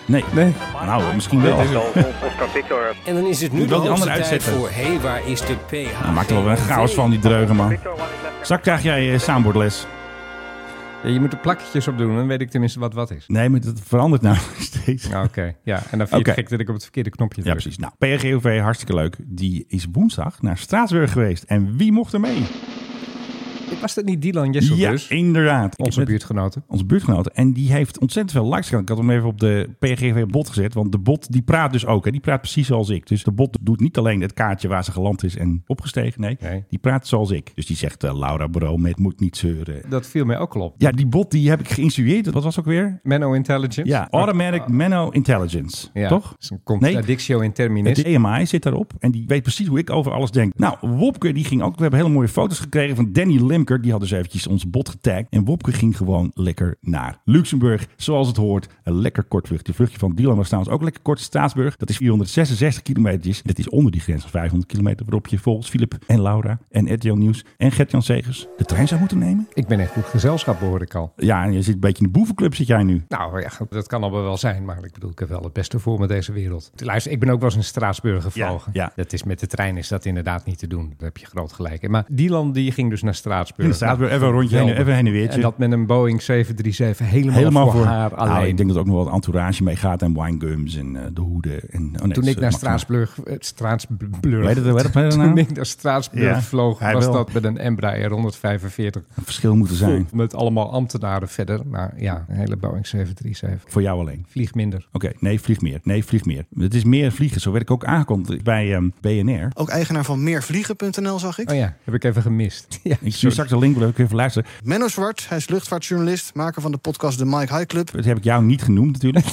Nee. Nee. Nou, misschien wel. En dan is het nu Moet de wel die hoogste andere tijd uitzetten. voor... Hé, hey, waar is de PH? Hij maakt er wel een chaos van, die dreugen, man. Zak krijg jij eh, soundboardles. Ja, je moet er plakketjes op doen, dan weet ik tenminste wat wat is. Nee, maar dat verandert nou steeds. Nou, Oké, ja. En dan vind je het Oké. gek dat ik op het verkeerde knopje druk. Ja, precies. Nou, PRGOV, hartstikke leuk. Die is woensdag naar Straatsburg geweest. En wie mocht er mee? Was dat niet Dylan Jessel ja, dus? inderdaad. Ik Onze ben- buurtgenoten. Onze buurtgenoot. En die heeft ontzettend veel likes gehad. Ik had hem even op de PRGV-bot gezet. Want de bot die praat dus ook. En die praat precies zoals ik. Dus de bot doet niet alleen het kaartje waar ze geland is en opgestegen. Nee, Nee. die praat zoals ik. Dus die zegt eh, Laura Bro met moet niet zeuren. Dat viel mij ook al op. Ja, die bot die heb ik geïnstrueerd. Wat was ook weer? Menno Intelligence. Ja, Automatic Mano Intelligence. Ah. Ja, Toch? Dat is een contradictio in terminis. Het EMI zit daarop en die weet precies hoe ik over alles denk. Nou, Wopke die ging ook. We hebben hele mooie foto's gekregen van Danny Limker. Die had dus eventjes ons bot getagd. En Wopke ging gewoon lekker naar Luxemburg. Zoals het hoort. Een lekker kort vluchtje. De vluchtje van Dylan was trouwens ook lekker kort. Straatsburg. Dat is 466 kilometer. Dat is onder die grens van 500 kilometer. Waarop je volgens Filip en Laura en RTL Nieuws en Gert-Jan Segers de trein zou moeten nemen. Ik ben echt goed gezelschap, hoor ik al. Ja, en je zit een beetje in de boevenclub zit jij nu. Nou ja, goed, dat kan allemaal wel zijn, maar ik bedoel, ik heb wel het beste voor met deze wereld. Luister, ik ben ook wel eens in Straatsburg gevlogen. Ja, ja. Dat is met de trein is dat inderdaad niet te doen. Daar heb je groot gelijk. in. Maar Dylan die ging dus naar Straatsburg. In Straatsburg, even een rondje heen- geweldig. even heen en weertje. En dat met een Boeing 737 helemaal, voor, haar Nou, alleen. ik denk dat er ook nog wel een entourage mee gaat. En winegums en eh, de hoeden. En, oh nee, Toen dat ik is, naar eh, makkelijk. Straatsburg, eh, Straatsburg, Weet het- weet het- weet het toen nou? ik naar Straatsburg Ja, vloog, hij was wel. dat met een Embraer 145. Een verschil moeten zijn. Met allemaal ambtenaren verder. Maar ja, een hele Boeing 737. Voor jou alleen. Vlieg minder. Oké, nee, vlieg meer. Nee, vlieg meer. Het is meer vliegen. Zo werd ik ook aangekondigd bij ehm, BNR. Ook eigenaar van meervliegen.nl zag ik. Oh ja, heb ik even gemist. Ja, Ik stuur straks de link, wil ik even luisteren. Menno Zwart, hij is luchtvaartjournalist, maker van de podcast De Mike High Club. Dat heb ik jou niet genoemd natuurlijk.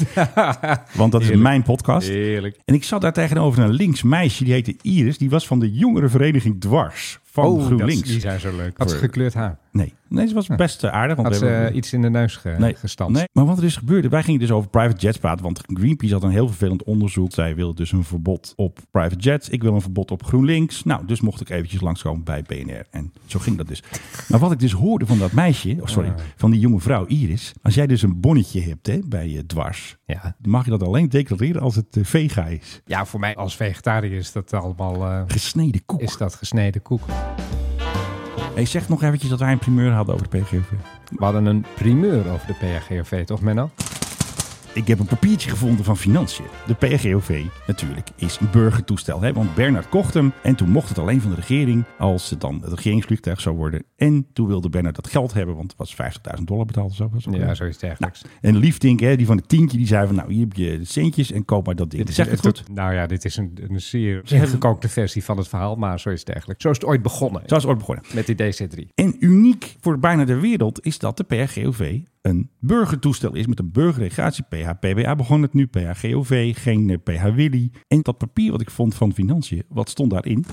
Want dat is Heerlijk. mijn podcast. Heerlijk. En ik zat daar tegenover een links meisje, die heette Iris. Die was van de jongerenvereniging Dwars van Oh, dat- GroenLinks. die zijn zo leuk. Had ze Voor- gekleurd haar? Nee, nee, ze was best eh, aardig. Want Had we ze hebben- eh, iets in de neus ge Nee, gestampt? Nee, maar wat er dus gebeurde, wij gingen dus over private jets praten. Want Greenpeace had een heel vervelend onderzoek. Zij wilde dus een verbod op private jets. Ik wil een verbod op GroenLinks. Nou, dus mocht ik eventjes langskomen bij BNR. En zo ging dat dus. Maar wat ik dus hoorde van dat meisje, oh sorry, van die jonge vrouw Iris. Als jij dus een bonnetje hebt hè, bij je dwars, Ja. dan mag je dat alleen declareren als het eh, vega is. ja, voor mij als vegetariër is dat allemaal... eh, Gesneden koek. is dat gesneden koek? Hey, zeg nog eventjes dat wij een primeur hadden over de PGV. We hadden een primeur over de PRGOV, toch Menno? Ik heb een papiertje gevonden van Financiën. De PRGOV natuurlijk is een burgertoestel. Hè? Want Bernard kocht hem en toen mocht het alleen van de regering als het dan het regeringsvliegtuig zou worden. En toen wilde Bernard dat geld hebben, want het was 50.000 dollar betaald. of Zo was het. Ja, zoiets dergelijks. En Liefdink, hè, die van de tientje, die zei van nou hier heb je centjes en koop maar dat ding. is Zeg het goed. Nou ja, dit is een, een zeer zeer gekookte versie van het verhaal, maar zoiets dergelijks. Zo is het ooit begonnen Zo is het ooit begonnen. met die DC-3. En uniek voor bijna de wereld is dat de PHGOV een burgertoestel is met een burgerregatie. PHPBA begon het nu, PHGOV, geen eh, PH Willy. En dat papier wat ik vond van Financiën, wat stond daarin?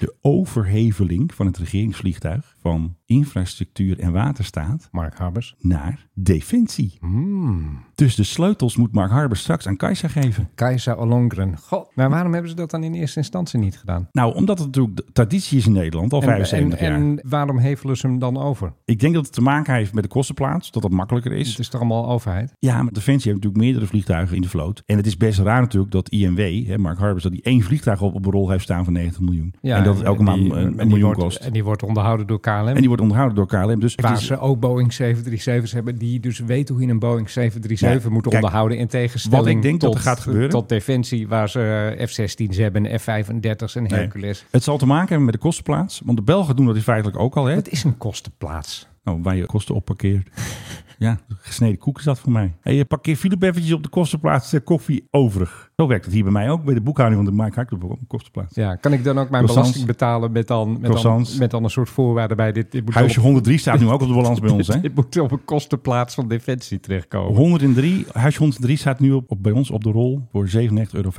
De overheveling van het regeringsvliegtuig van infrastructuur en waterstaat Mark Harbers. naar defensie. Hmm. Dus de sleutels moet Mark Harber straks aan Kajsa geven. Kajsa Ollongren. God, maar waarom hebben ze dat dan in eerste instantie niet gedaan? Nou, omdat het natuurlijk de traditie is in Nederland al En, 75 en- jaar. en waarom hevelen ze hem dan over? Ik denk dat het te maken heeft met de kostenplaats, dat dat makkelijker is. Het is toch allemaal overheid? Ja, maar Defensie heeft natuurlijk meerdere vliegtuigen in de vloot. En het is best raar natuurlijk dat IMW, hè, Mark Harbers, dat die één vliegtuig op, op een rol heeft staan van 90 miljoen. en dat het elke die- maand een, en een die miljoen wordt- kost. En die wordt onderhouden door KLM. En die wordt onderhouden door KLM. Dus het Waar is- ze ook Boeing 737's hebben, die dus weten hoe je een Boeing 737 Ja, moet kijk, onderhouden. In tegenstelling wat ik denk tot, dat er gaat gebeuren. tot Defensie, waar ze eh, F-16's hebben, F-35's en Hercules. het zal te maken hebben met de kostenplaats. Want de Belgen doen dat feitelijk ook al. Hè? Het is een kostenplaats. Nou, waar je kosten op parkeert. ja, gesneden koek is dat voor mij. Hey, je parkeer Philip eventjes op de kostenplaats eh, koffie overig. Zo werkt het hier bij mij ook. Bij de boekhouding van de Mike Hakkelboek op de kostenplaats. Ja, kan ik dan ook mijn Croissants. belasting betalen met dan, met, dan, Croissants. met dan een soort voorwaarden bij dit? dit moet Huisje op- 103 staat nu ook op de balans bij ons. Hè? Dit moet op een kostenplaats van Defensie terechtkomen. 103, huis 103 staat nu op, op, bij ons op de rol voor 97,50 euro.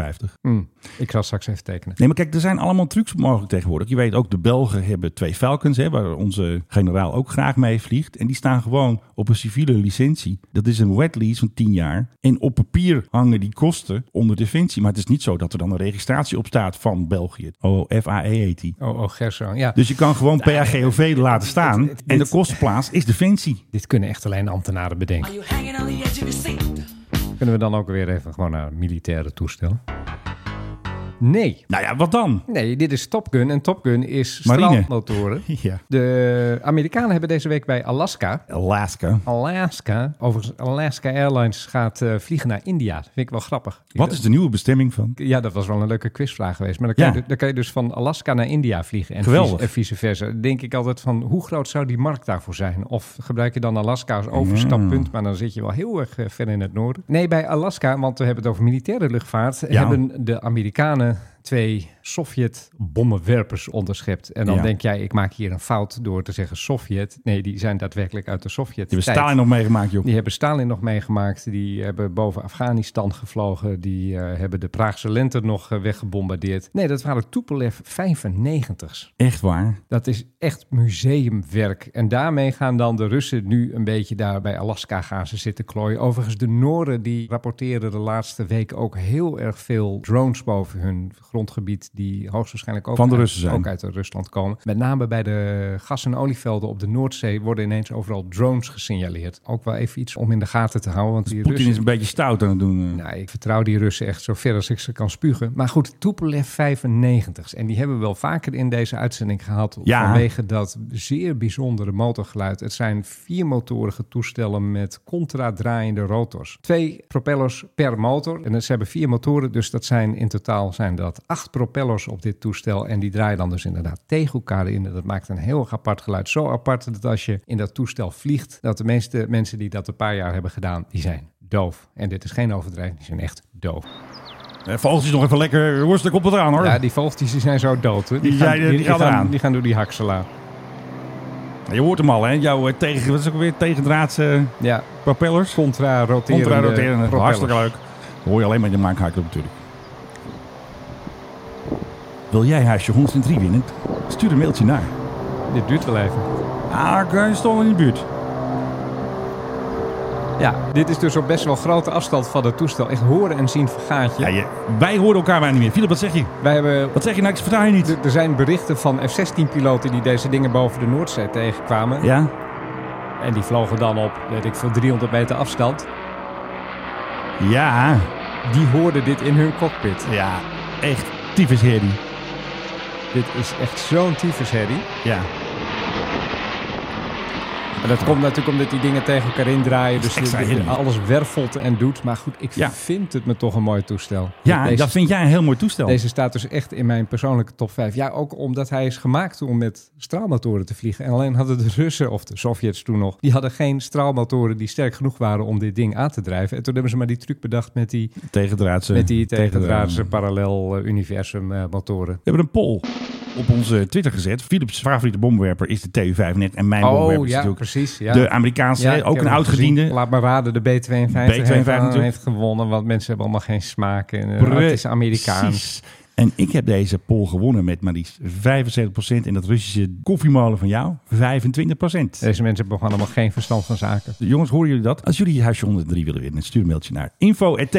Hmm, ik zal straks even tekenen. Nee, maar kijk, er zijn allemaal trucs mogelijk tegenwoordig. Je weet ook, de Belgen hebben twee Falcons, hè, waar onze generaal ook graag mee vliegt. En die staan gewoon op een civiele licentie. Dat is een wet lease van 10 jaar. En op papier hangen die kosten onder defensie. Maar het is niet zo dat er dan een registratie op staat van België. Oh, OFAE E heet die. Oh, oh Gerso. Ja, Dus je kan gewoon PAGOV laten staan. het- En de het- kostenplaats is defensie. dit kunnen echt alleen ambtenaren bedenken. Kunnen we dan ook weer even gewoon naar militaire toestellen? Nee. Nou ja, wat dan? Nee, dit is Top Gun en Top Gun is Marine. strandmotoren. Ja. De Amerikanen hebben deze week bij Alaska... Alaska. Alaska, overigens Alaska Airlines gaat eh, vliegen naar India. Dat vind ik wel grappig. Wat is de nieuwe bestemming van? Ja, dat was wel een leuke quizvraag geweest. Maar dan kan, Ja. je, dan kan je dus van Alaska naar India vliegen. En Geweldig. vice- En vice versa. Dan Denk ik altijd van, hoe groot zou die markt daarvoor zijn? Of gebruik je dan Alaska als overstappunt? Mm. Maar dan zit je wel heel erg eh, ver in het noorden. Nee, bij Alaska, want we hebben het over militaire luchtvaart... Ja. hebben de Amerikanen twee Sovjet-bommenwerpers onderschept. En dan Ja. denk jij, ik maak hier een fout door te zeggen Sovjet. Nee, die zijn daadwerkelijk uit de Sovjet. Je hebt Stalin nog meegemaakt, joh. Die hebben Stalin nog meegemaakt. Die hebben boven Afghanistan gevlogen. Die eh, hebben de Praagse lente nog eh, weggebombardeerd. Nee, dat waren Tupolev 95's. Echt waar. Dat is echt museumwerk. En daarmee gaan dan de Russen nu een beetje daar bij Alaska gaan ze zitten klooien. Overigens, de Noorden die rapporteren de laatste week ook heel erg veel drones boven hun grondgebied. Die hoogstwaarschijnlijk ook, Van de uit, Russen zijn. ook uit Rusland komen. Met name bij de gas- en olievelden op de Noordzee worden ineens overal drones gesignaleerd. Ook wel even iets om in de gaten te houden. Want die Poetin Russen... is een beetje stout aan het doen. eh. Nou, ik vertrouw die Russen echt zo ver als ik ze kan spugen. Maar goed, Tupolev 95's. En die hebben we wel vaker in deze uitzending gehad. Ja. Vanwege dat zeer bijzondere motorgeluid. Het zijn viermotorige toestellen met contradraaiende rotors. Twee propellers per motor. En ze hebben vier motoren, dus dat zijn in totaal zijn dat acht propellers op dit toestel. En die draaien dan dus inderdaad tegen elkaar in. En dat maakt een heel erg apart geluid. Zo apart dat als je in dat toestel vliegt, dat de meeste mensen die dat een paar jaar hebben gedaan, die zijn doof. En dit is geen overdrijving, die zijn echt doof. Eh, Volgens is nog even lekker rustig op het aan, hoor. Ja, die vogeltjes die zijn zo dood. Hè? Die zijn- die gaan eraan. gaan, die gaan door die haksela. Je hoort hem al, hè? Jouw eh, tegen, wat is het ook weer? tegendraadse Ja, propellers. contra roterende, Contra roterende. eh, propellers. Hartstikke leuk. Dan hoor je alleen maar de maakhakker natuurlijk. Wil jij huisje 103 winnen? Stuur een mailtje naar. Dit duurt wel even. Ah, ik eh, stond in de buurt. Ja, dit is dus op best wel grote afstand van het toestel. Echt horen en zien vergaat je. Ja, je- wij horen elkaar maar niet meer. Philip, wat zeg je? Wij hebben Wat zeg je nou? Ik versta je niet. Er- Er zijn berichten van F-16-piloten die deze dingen boven de Noordzee tegenkwamen. Ja? En die vlogen dan op, weet ik veel, 300 meter afstand. Ja. Die hoorden dit in hun cockpit. Ja. Echt tyfus herrie. Dit is echt zo'n tyfusherrie. Ja. En dat komt natuurlijk omdat die dingen tegen elkaar indraaien. Dus extra de- de- herrie. alles wervelt en doet. Maar goed, ik Ja. vind het me toch een mooi toestel. Ja, deze, dat vind jij een heel mooi toestel. deze staat dus echt in mijn persoonlijke top 5. Ja, ook omdat hij is gemaakt om met straalmotoren te vliegen. En alleen hadden de Russen, of de Sovjets toen nog, die hadden geen straalmotoren die sterk genoeg waren om dit ding aan te drijven. En toen hebben ze maar die truc bedacht met die Tegendraadse. Met die tegendraadse. tegendraadse parallel eh, universum eh, motoren. We hebben een poll op onze Twitter gezet. Philips favoriete bomwerper is de TU-35. En mijn bomwerper is natuurlijk precies. Oh, Ja. de Amerikaanse. Ja, ik ook heb een hem gezien. oud-gediende. Laat maar raden, de B-52, heeft, B-52 eh, natuurlijk. heeft gewonnen. Want mensen hebben allemaal geen smaak. En, eh, het is Amerikaans. Precies. En ik heb deze poll gewonnen met maar liefst 75%. En dat Russische koffiemolen van jou, 25%. Deze mensen hebben gewoon allemaal geen verstand van zaken. Dus, Jongens, horen jullie dat? Als jullie huisje 103 willen winnen, stuur een mailtje naar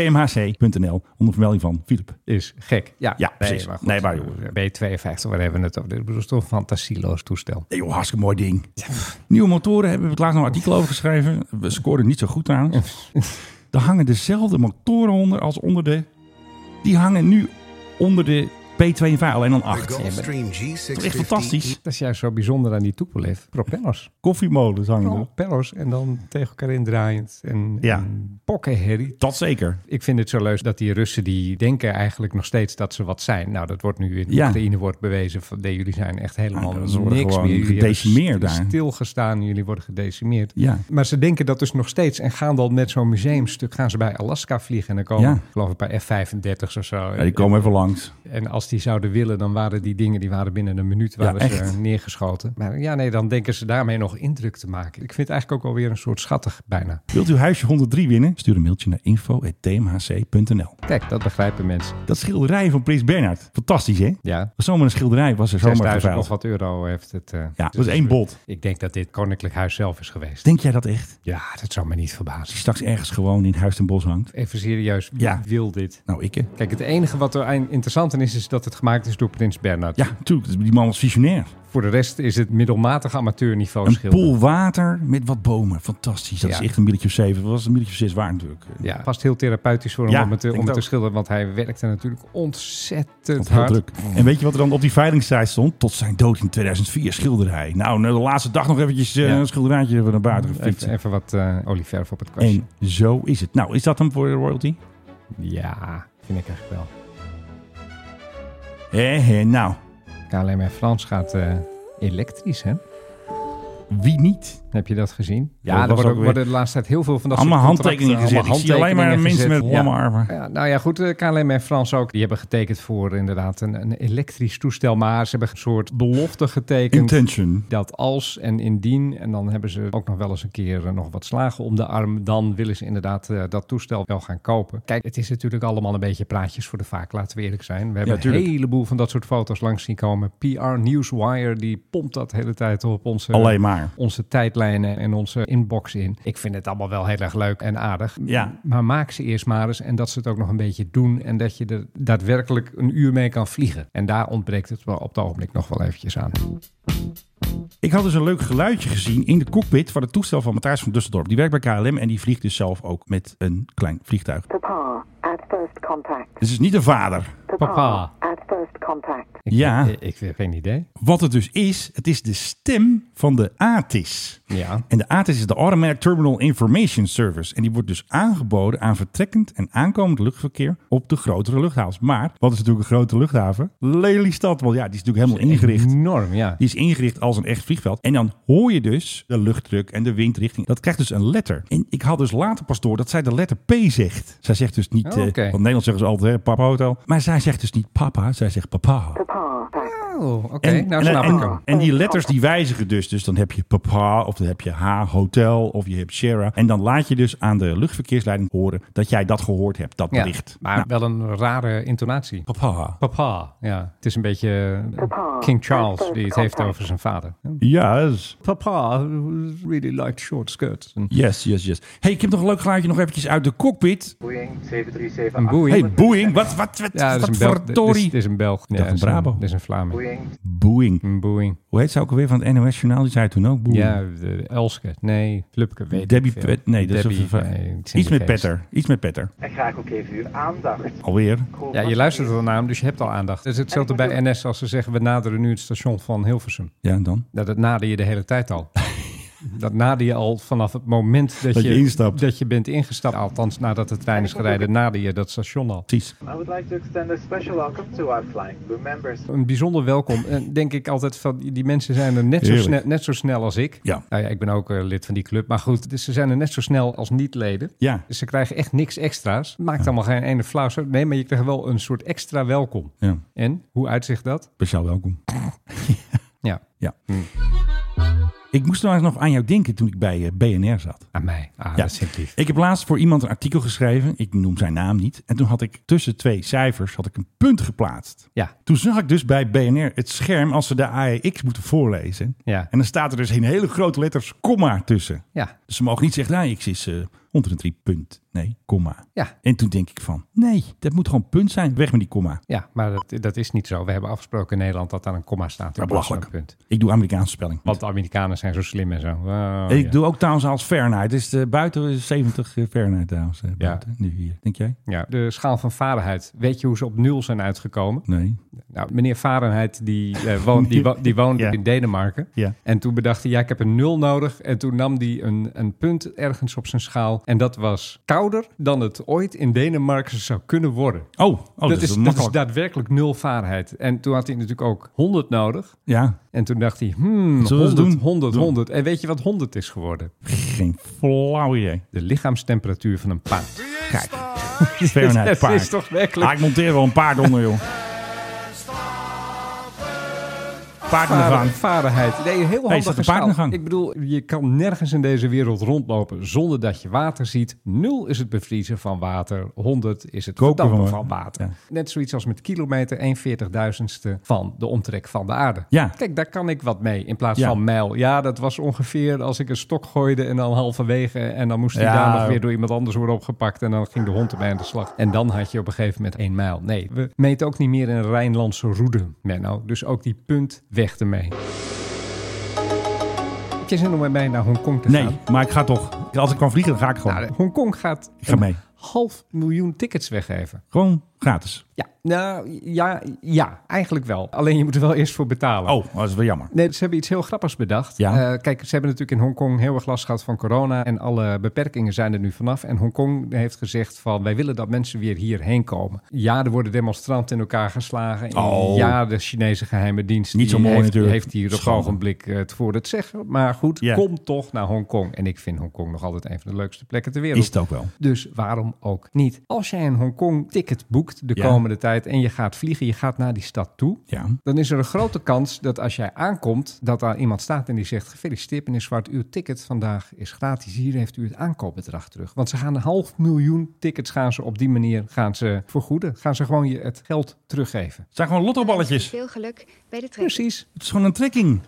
info.tmhc.nl onder vermelding van Philip. Is gek. Ja, Ja, precies. goed. eh, Nee, maar joh. B-52, waar hebben we het over? Dit is toch een fantasieloos toestel. Nee joh, hartstikke mooi ding. Nieuwe motoren hebben we het laatst nog een artikel over geschreven. We scoren niet zo goed trouwens. Er hangen dezelfde motoren onder als onder de... Die hangen nu onder de P52, alleen dan 8. Gulfstream Dat G650. is echt fantastisch. Dat is juist zo bijzonder aan die Tupolev. Propellers. Koffiemolens hangen er. Propellers en dan tegen elkaar indraaiend. En, Ja. en pokkenherrie. Dat zeker. Ik vind het zo leuk dat die Russen die denken eigenlijk nog steeds dat ze wat zijn. Nou, dat wordt nu in Ja. Oekraïne wordt bewezen. Van, nee, jullie zijn echt Ah, helemaal ze niks worden meer. gewoon Jullie hebben gedecimeerd st- daar. Stilgestaan, jullie worden gedecimeerd. Ja. Maar ze denken dat dus nog steeds en gaan dan met zo'n museumstuk gaan ze bij Alaska vliegen. En dan komen, Ja. ik geloof ik, bij F-35's of zo. Ja, die komen even langs. En als die zouden willen, dan waren die dingen die waren binnen een minuut waren Ja, ze echt. neergeschoten. Maar ja, nee, dan denken ze daarmee nog indruk te maken. Ik vind het eigenlijk ook alweer een soort schattig bijna. Wilt u huisje 103 winnen? Stuur een mailtje naar info.tmhc.nl Kijk, dat begrijpen mensen. Dat schilderij van Prins Bernhard. Fantastisch, hè? Ja. Zomaar een schilderij was er zomaar 6000 geveild. of wat euro heeft het. eh, Ja, dat dus is één bot. Ik denk dat dit Koninklijk Huis zelf is geweest. Denk jij dat echt? Ja, dat zou me niet verbazen. Die straks ergens gewoon in Huis ten Bos hangt? Even serieus, wie Ja. wil dit? Nou, ik hè. Kijk, het enige wat er aan- interessant aan is, is dat dat het gemaakt is door Prins Bernhard. Ja, natuurlijk. Die man was visionair. Voor de rest is het middelmatig amateurniveau Een schilderen. pool water met wat bomen. Fantastisch. Dat Ja. is echt een milletje of zeven. Dat was een milletje of zes waar natuurlijk. Ja, vast heel therapeutisch voor hem Ja, om het, te- ik om het te ook. schilderen. Want hij werkte natuurlijk ontzettend Dat was heel hard. druk. En weet je wat er dan op die veilingssite stond? Tot zijn dood in 2004 schilderde hij. Nou, nou, de laatste dag nog eventjes eh, Ja. een schilderijtje van naar buiten gefietst. Even, even wat eh, olieverf op het kastje. En zo is het. Nou, is dat hem voor de royalty? Ja, vind ik eigenlijk wel. Hé, hé, nou. KLM en Frans gaat eh, elektrisch, hè? Wie niet? Heb je dat gezien? dat Ja, was er worden, ook weer- worden de laatste tijd heel veel van dat Allemaal soort contracten, handtekeningen gezet. allemaal Ik zie alleen maar handtekeningen mensen gezet. met lange armen. Ja, nou ja, goed. eh, KLM en Frans ook. Die hebben getekend voor inderdaad een, een elektrisch toestel. Maar ze hebben een soort belofte getekend. Intention. dat als en indien, en dan hebben ze ook nog wel eens een keer eh, nog wat slagen om de arm, dan willen ze inderdaad eh, dat toestel wel gaan kopen. Kijk, het is natuurlijk allemaal een beetje praatjes voor de vaak, laten we eerlijk zijn. We hebben een tuurlijk. heleboel van dat soort foto's langs zien komen. PR Newswire, die pompt dat de hele tijd op onze, Alleen maar. onze tijdlijnen en onze inbox in. Ik vind het allemaal wel heel erg leuk en aardig. Ja. Maar maak ze eerst maar eens en dat ze het ook nog een beetje doen en dat je er daadwerkelijk een uur mee kan vliegen. En daar ontbreekt het wel op het ogenblik nog wel eventjes aan. Ik had dus een leuk geluidje gezien in de cockpit van het toestel van Matthijs van Dusseldorp. Die werkt bij KLM en die vliegt dus zelf ook met een klein vliegtuig. Papa, at first contact. Dus het is niet een vader. Papa. At first contact. Ik, Ja. Ik, ik heb geen idee. Wat het dus is, het is de stem van de ATIS. Ja. En de ATIS is de Automatic Terminal Information Service. En die wordt dus aangeboden aan vertrekkend en aankomend luchtverkeer op de grotere luchthavens. Maar wat is natuurlijk een grote luchthaven? Lelystad. Want ja, die is natuurlijk helemaal ingericht. Enorm, ja. Die is ingericht als een echt vliegveld. En dan hoor je dus de luchtdruk en de windrichting. Dat krijgt dus een letter. En ik had dus later pas door dat zij de letter P zegt. Zij zegt dus niet, Oh, eh oké. want Nederlands zeggen ze altijd hè, papa hotel. Maar zij zegt dus niet papa, zij zegt papa. Oh, oké. En- Nou en, snap en, ik hem. en die letters die wijzigen dus. Dus dan heb je papa of dan heb je H hotel of je hebt Shara. En dan laat je dus aan de luchtverkeersleiding horen dat jij dat gehoord hebt, dat Ja, bericht. maar Nou, wel een rare intonatie. papa. Papa, ja. Het is een beetje eh, King Charles die het heeft over zijn vader. Yes. Papa really liked short skirts. Een, Yes, yes, yes. hey, ik heb nog een leuk geluidje nog eventjes uit de cockpit. Boeing 737 een boei. hey, Boeing. Wat, wat, wat, ja, dat wat is een voor Belg. Dit is, verdorie. dit is een Belg. Ja, dacht dit is een Brabo. Dit is een Vlaming. Boeing Boeing. Een boei. Hoe heet ze ook alweer van het NOS Journaal? Die zei toen ook Boeing. Ja, de Elske. Nee, Flupke. Weet ik Debbie veel. Pet. Nee, dat Debbie, is een- nee, het is Iets niet met geest. Petter. Iets met Petter. en graag ook even uw aandacht. Alweer. Goed, Ja, je wat luistert is- er naam, dus je hebt al aandacht. Het is hetzelfde bij NS als ze zeggen, we naderen nu het station van Hilversum. Ja, en dan. Nou, dat nader je de hele tijd al. dat nader je al vanaf het moment dat, Dat je instapt. dat je bent ingestapt. Althans, nadat de trein is gereden, nader je dat station al. Precies. I would like to extend a special welcome to our flying crew members. Een bijzonder welkom. En denk ik altijd van, die mensen zijn er net zo, Heerlijk. snel, net zo snel als ik. Ja. Nou ja, ik ben ook eh, lid van die club. Maar goed, dus ze zijn er net zo snel als niet-leden. Ja. Dus ze krijgen echt niks extra's. Maakt allemaal geen ene flauw. uit. Nee, maar je krijgt wel een soort extra welkom. ja. En, hoe uitzicht dat? Speciaal welkom. Ja, Ja. Ik moest trouwens nog aan jou denken toen ik bij eh, BNR zat. aan mij. Ah, Ja. dat is heel lief. Ik heb laatst voor iemand een artikel geschreven. Ik noem zijn naam niet. En toen had ik tussen twee cijfers had ik een punt geplaatst. Ja. Toen zag ik dus bij BNR het scherm als ze de AEX moeten voorlezen. Ja. En dan staat er dus in hele grote letters komma tussen. Ja, Dus ze mogen niet zeggen, AEX is eh 103 punt. Nee, komma. ja. En toen denk ik van, nee, dat moet gewoon punt zijn. Weg met die komma. Ja, maar dat, dat is niet zo. We hebben afgesproken in Nederland dat daar een komma staat. Ja, in plaats van een belachelijk. Punt. Ik doe Amerikaanse spelling. Want de Amerikanen zijn zo slim en zo. Wow, ik oh, ja. doe ook trouwens als Fahrenheit. Dus eh, buiten is 70 Fahrenheit trouwens. eh, Ja. buiten. Nu hier. Denk jij? Ja, de schaal van Fahrenheit. Weet je hoe ze op nul zijn uitgekomen? Nee. Nou, meneer Fahrenheit die, eh, woont, die, wo- die woonde Ja. in Denemarken. Ja. En toen bedacht hij, ja, ik heb een nul nodig. En toen nam hij een, een punt ergens op zijn schaal. En dat was kouder dan het ooit in Denemarken zou kunnen worden. Oh, oh dat, dat, is, is, dat is makkelijk. daadwerkelijk nul Fahrenheit. En toen had hij natuurlijk ook 100 nodig. ja, En toen dacht hij, hmm, Zullen we 100, het 100, doen? 100, Doen. En weet je wat 100 is geworden? geen flauw idee. De lichaamstemperatuur van een paard. Kijk. Fahrenheit, Het paard. is toch werkelijk... Ah, ik monteer wel een paard onder, joh. Paardengang. Vaardigheid. Nee, heel Hey, is handig dat een geschaald. paardengang? Ik bedoel, je kan nergens in deze wereld rondlopen zonder dat je water ziet. Nul is het bevriezen van water. 100 is het Koken verdampen van van, wa- water. Net zoiets als met kilometer, 140.000ste van de omtrek van de aarde. Ja. Kijk, daar kan ik wat mee in plaats Ja. van mijl. Ja, dat was ongeveer als ik een stok gooide en dan halverwege en dan moest die Ja. daar nog weer door iemand anders worden opgepakt en dan ging de hond erbij aan de slag. En dan had je op een gegeven moment één mijl. Nee, we meten ook niet meer in Rijnlandse roede, Menno. Dus ook die punt weg ermee. Heb je zin om met mij naar Hongkong te gaan? Nee, maar ik ga toch. Als ik kan vliegen, dan ga ik gewoon. Nou, Hongkong gaat ik ga mee. half miljoen tickets weggeven. Gewoon gratis. Ja, nou ja, ja, eigenlijk wel. Alleen je moet er wel eerst voor betalen. Oh, dat is wel jammer. Nee, ze hebben iets heel grappigs bedacht. Ja. Eh, kijk, ze hebben natuurlijk in Hongkong heel erg last gehad van corona. En alle beperkingen zijn er nu vanaf. En Hongkong heeft gezegd van, wij willen dat mensen weer hierheen komen. Ja, er worden demonstranten in elkaar geslagen. En Oh. Ja, de Chinese geheime dienst Niet die zo mooi heeft, natuurlijk. heeft hier op een Schande. ogenblik eh, het voor het zeggen. Maar goed, Ja. kom toch naar Hongkong. En ik vind Hongkong nog altijd een van de leukste plekken ter wereld. Is het ook wel. Dus waarom ook niet? Als jij een Hongkong-ticket boekt de Ja. komende tijd en je gaat vliegen, je gaat naar die stad toe, Ja. dan is er een grote kans dat als jij aankomt, dat daar iemand staat en die zegt: Gefeliciteerd, meneer Zwart, uw ticket vandaag is gratis. Hier heeft u het aankoopbedrag terug. Want ze gaan een half miljoen tickets gaan ze op die manier gaan ze vergoeden. Gaan ze gewoon je het geld teruggeven. Het zijn gewoon lottoballetjes. Veel geluk bij de trekking. Precies. Het is gewoon een trekking.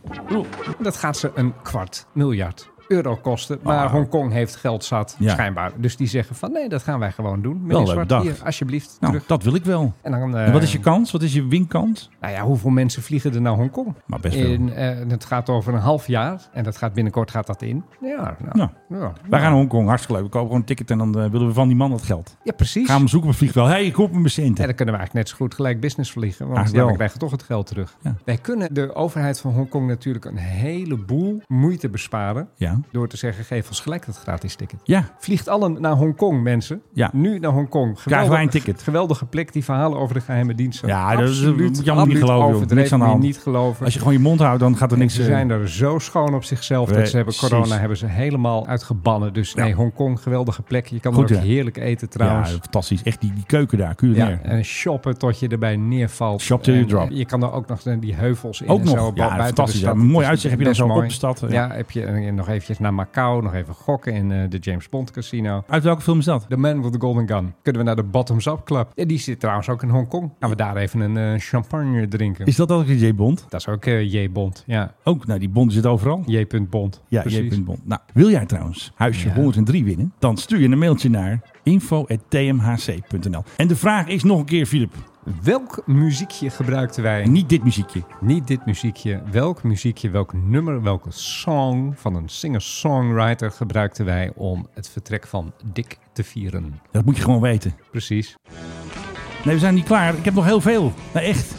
Dat gaat ze een kwart miljard euro kosten. Maar Ah. Hongkong heeft geld zat, Ja. schijnbaar. Dus die zeggen van nee, dat gaan wij gewoon doen. Wel Meneer leuk Zwart, bedacht. hier, alsjeblieft Nou, terug. dat wil ik wel. En dan, eh, En wat is je kans? Wat is je winkans? Nou ja, hoeveel mensen vliegen er naar Hongkong? Maar best wel. In, eh, het gaat over een half jaar. En dat gaat binnenkort gaat dat in. Ja, nou, Nou, ja. wij gaan naar Hongkong. Hartstikke leuk. We kopen gewoon een ticket en dan eh, willen we van die man dat geld. Ja, precies. Gaan we hem zoeken op een vliegveld. Hé, hey, ik koop hem Ja, centen. dan kunnen we eigenlijk net zo goed gelijk business vliegen. Want Eigenlijk ja, Ah, wel. we krijgen toch het geld terug. Ja. Wij kunnen de overheid van Hongkong natuurlijk een heleboel moeite besparen. Ja. Door te zeggen, geef ons gelijk dat gratis ticket. Ja. Vliegt allen naar Hongkong, mensen. Ja. Nu naar Hongkong. Krijgen wij een ticket. Geweldige plek, die verhalen over de geheime diensten. Ja, dat is- moet je allemaal niet absoluut geloven, joh. overdreven, Niks aan de moet je hand. niet geloven. Als je gewoon je mond houdt, dan gaat er En niks... ze eh, zijn er zo schoon op zichzelf dat ze hebben Precies. corona hebben ze helemaal uitgebannen. Dus Ja. nee, Hongkong, geweldige plek. Je kan Goed, er ook hè? heerlijk eten ja, trouwens. fantastisch. Echt die, die keuken daar. Ja, Culinair. en shoppen tot je erbij neervalt. Shop till you En, drop. eh, Je kan er ook nog naar die heuvels in. Ook en nog. zo, Ja, bu- buiten de fantastisch. stad. Ja, een mooi Het is uitzicht heb je dan best zo op mooi. de stad, ja. Ja, heb je en nog eventjes naar Macau, nog even gokken in eh, de James Bond Casino. Uit welke film is dat? The Man with the Golden Gun. Kunnen we naar de Bottoms Up Club. Ja, die zit trouwens ook in Hongkong. Gaan we daar even een eh, champagne drinken. Is dat ook een J. Bond? Dat is ook eh, J. Bond. Ja, Ook, nou die Bond zit overal. J. Bond. Ja, Precies. J. Bond. Nou, wil jij trouwens huisje 103 winnen? Dan stuur je een mailtje naar info.tmhc.nl En de vraag is nog een keer, Filip. Welk muziekje gebruikten wij? Niet dit muziekje. Niet dit muziekje. Welk muziekje, welk nummer, welke song van een singer-songwriter gebruikten wij om het vertrek van Dick te vieren? Dat moet je gewoon weten. Precies. Nee, we zijn niet klaar. Ik heb nog heel veel. Nee, echt.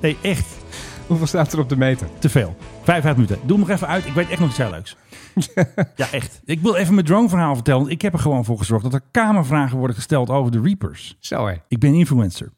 Nee, echt. Hoeveel staat er op de meter? Te veel. Vijf, vijf minuten. Doe hem nog even uit. Ik weet echt nog iets heel leuks. ja, echt. Ik wil even mijn drone-verhaal vertellen. want Ik heb er gewoon voor gezorgd dat er kamervragen worden gesteld over de Reapers. Zo hé. Ik ben influencer.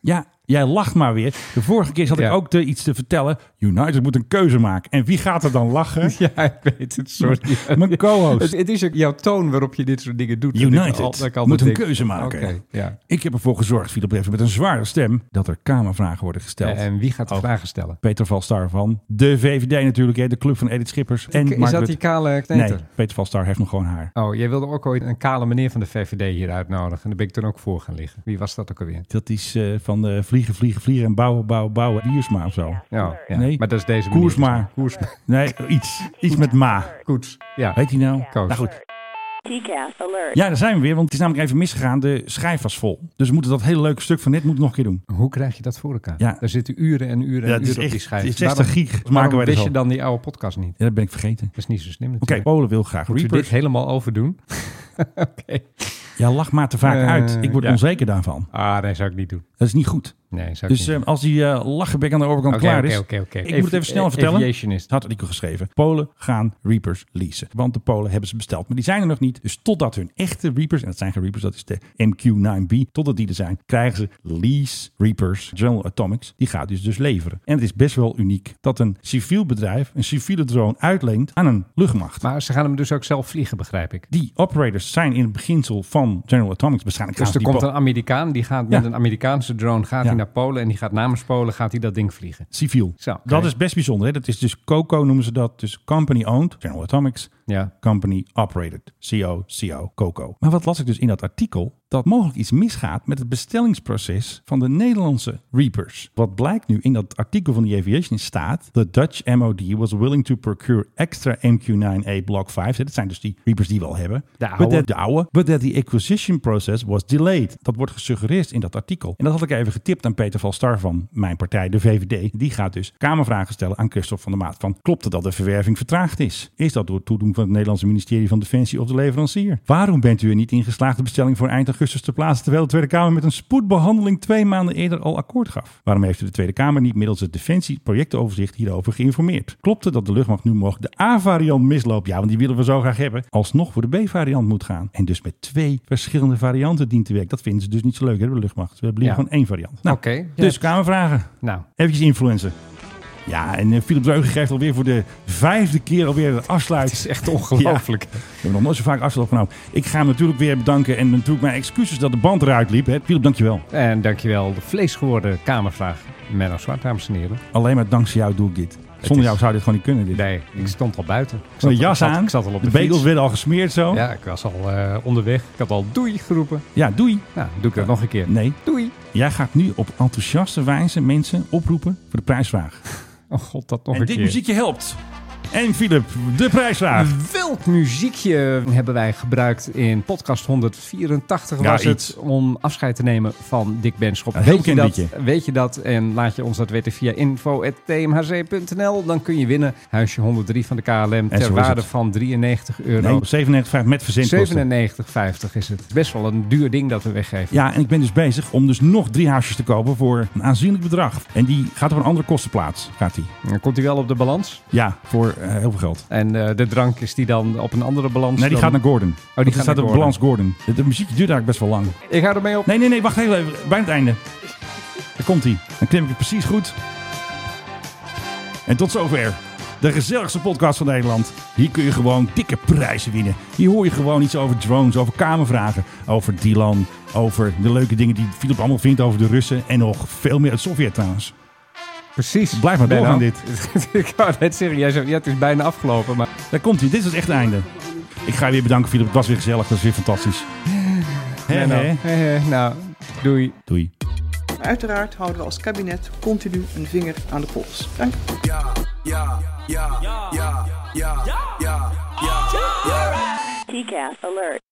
ja, jij lacht maar weer. De vorige keer zat Ja. ik ook te, iets te vertellen. United moet een keuze maken. En wie gaat er dan lachen? Ja, ik weet het, sorry. Mijn co-host. Het, het is ook jouw toon waarop je dit soort dingen doet. dat ik al- dat ik United altijd moet een denk, keuze Oké, maken. ja. Ik heb ervoor gezorgd, Philip even met een zware stem, dat er kamervragen worden gesteld. En wie Oh. gaat de vragen stellen? Peter Valstar van de VVD natuurlijk, hè, de club van Edith Schippers. En is Mark dat Rutte. die kale Nee, kneter? Peter Valstar heeft nog gewoon haar. Oh, jij wilde ook ooit een kale meneer van de VVD hier uitnodigen. En daar ben ik toen ook voor gaan liggen. Wie was dat ook alweer? Dat is eh, van eh, vliegen, vliegen, vliegen en bouwen, bouwen, bouwen. Wiersma of zo. Ja, ja. Nee. maar dat is deze meneer. Koersma. Koersma. Nee, iets. Iets met ma. Koets. Ja. Heet hij nou? Koos. Nou goed. Ja, daar zijn we weer, want het is namelijk even misgegaan. De schijf was vol. Dus we moeten dat hele leuke stuk van net moeten we nog een keer doen. Hoe krijg je dat voor elkaar? Ja. Daar zitten uren en uren Ja, het en is uren op die echt- schijf. het is 60 gig, maken waarom wij er wist zo. je dan die oude podcast niet? Ja, dat ben ik vergeten. Dat is niet zo slim Oké, natuurlijk. Polen wil graag Moeten we dit Reapers. helemaal overdoen? Oké. Ja, lach maar te vaak Eh, uit. Ik word ja. onzeker daarvan. Ah, nee, zou ik niet doen. Dat is niet goed. Nee, zou ik Dus niet eh, als die eh, lachenbek aan de overkant Oké, klaar oké, is. oké, oké. Ik moet het even Avi- snel eh, vertellen. aviationist. Had Rico geschreven. Polen gaan Reapers leasen. Want de Polen hebben ze besteld. Maar die zijn er nog niet. Dus totdat hun echte Reapers. En dat zijn geen Reapers. Dat is de MQ-9B. Totdat die er zijn. Krijgen ze lease Reapers. General Atomics. Die gaat dus dus leveren. En het is best wel uniek. Dat een civiel bedrijf een civiele drone uitleent aan een luchtmacht. doen. Maar ze gaan hem dus ook zelf vliegen, begrijp ik. die operators zijn in het beginsel van General Atomics. Waarschijnlijk Dus gaan ze er die komt po- een Amerikaan, die gaat met Ja. een Amerikaanse drone gaat Ja. hij naar Polen en die gaat namens Polen gaat hij dat ding vliegen. Civiel. Zo, oké. Dat is best bijzonder. Hè? Dat is dus COCO noemen ze dat. Dus Company Owned, General Atomics. Ja. Company Operated, CO, CO, COCO. Maar wat las ik dus in dat artikel? Dat mogelijk iets misgaat met het bestellingsproces van de Nederlandse Reapers. Wat blijkt nu in dat artikel van de Aviation staat... The Dutch MOD was willing to procure extra MQ-9A Block 5. Dat zijn dus die Reapers die we al hebben. De But oude. that- de oude. But that the acquisition process was delayed. Dat wordt gesuggereerd in dat artikel. En dat had ik even getipt aan Peter Valstar van mijn partij, de VVD. Die gaat dus kamervragen stellen aan Christophe van der Maat. Van, klopt het dat de verwerving vertraagd is? Is dat door het toedoen van het Nederlandse ministerie van Defensie of de leverancier? Waarom bent u er niet in geslaagd de bestelling voor eind augustus te plaatsen... terwijl de Tweede Kamer met een spoedbehandeling twee maanden eerder al akkoord gaf? Waarom heeft u de Tweede Kamer niet middels het Defensie-projectenoverzicht hierover geïnformeerd? Klopt het dat de luchtmacht nu mogelijk de A-variant misloopt? Ja, want die willen we zo graag hebben. Alsnog voor de B-variant moet gaan. En dus met twee verschillende varianten dient te werken. Dat vinden ze dus niet zo leuk, hè, de luchtmacht. We hebben liever Ja. gewoon één variant. Nou, Oké. dus Kamervragen. Nou, Even influencer. Ja, en eh, Philip Dreugen geeft alweer voor de vijfde keer alweer een afsluit. Het is echt ongelooflijk. We hebben nog nooit zo vaak afsluit opgenomen. Ik ga hem natuurlijk weer bedanken. En natuurlijk mijn excuses dat de band eruit liep. Hè. Philip, dankjewel. en dankjewel. De vleesgeworden kamervraag. Menno Zwart, dames en heren. Alleen maar dankzij jou doe ik dit. Zonder is- jou zou dit gewoon niet kunnen. Dit. Nee, ik stond al buiten. Ik Zo'n zat, jas ik zat- aan. Ik zat al op de, bagels fiets. werden al gesmeerd zo. Ja, ik was al eh, onderweg. Ik had al doei geroepen. Ja, doei. Nou, doe ik dat nog een keer. Nee. Doei. Jij gaat nu op enthousiaste wijze mensen oproepen voor de prijsvraag. Oh god, dat nog en een dit keer. muziekje helpt. En Philip, de prijsvraag. Welk muziekje hebben wij gebruikt in podcast 184 Ja, was iets. het om afscheid te nemen van Dick Benschop. Een heel weet, je bekend dat, liedje. weet je dat? En laat je ons dat weten via info.tmhc.nl. Dan kun je winnen. Huisje 103 van de KLM zo is ter waarde het. van 93 euro. Nee, 97,5 met verzendkosten. 97,50 is het. Best wel een duur ding dat we weggeven. Ja, en ik ben dus bezig om dus nog drie huisjes te kopen voor een aanzienlijk bedrag. En die gaat op een andere kostenplaats, gaat die. Dan komt hij wel op de balans. Ja, voor eh, heel veel geld. En eh, de drank is die dan op een andere Nee, balans. Oh, die dan- gaat naar Gordon. Want gaat staat naar op Gordon. balans Gordon. De, de muziek duurt eigenlijk best wel lang. Ik hou ermee op. Nee, nee, nee, wacht heel even. Bijna het einde. Daar komt hij. Dan klim ik het precies goed. En tot zover. De gezelligste podcast van Nederland. Hier kun je gewoon dikke prijzen winnen. Hier hoor je gewoon iets over drones, over kamervragen, over Dylan, over de leuke dingen die Philip allemaal vindt over de Russen en nog veel meer het Sovjet trouwens. Precies. Blijf maar Benno. doorgaan dit. ik wou net zeggen, jij zegt, ja, het is bijna afgelopen. Maar Daar komt hij. Dit is het echte einde. Ik ga je weer bedanken Philip. Het was weer gezellig. Dat is weer fantastisch. Hè, Benno. hè? Hè, hè. nou, doei. Doei. Maar uiteraard houden we als kabinet continu een vinger aan de pols. Dank. Decaf alert.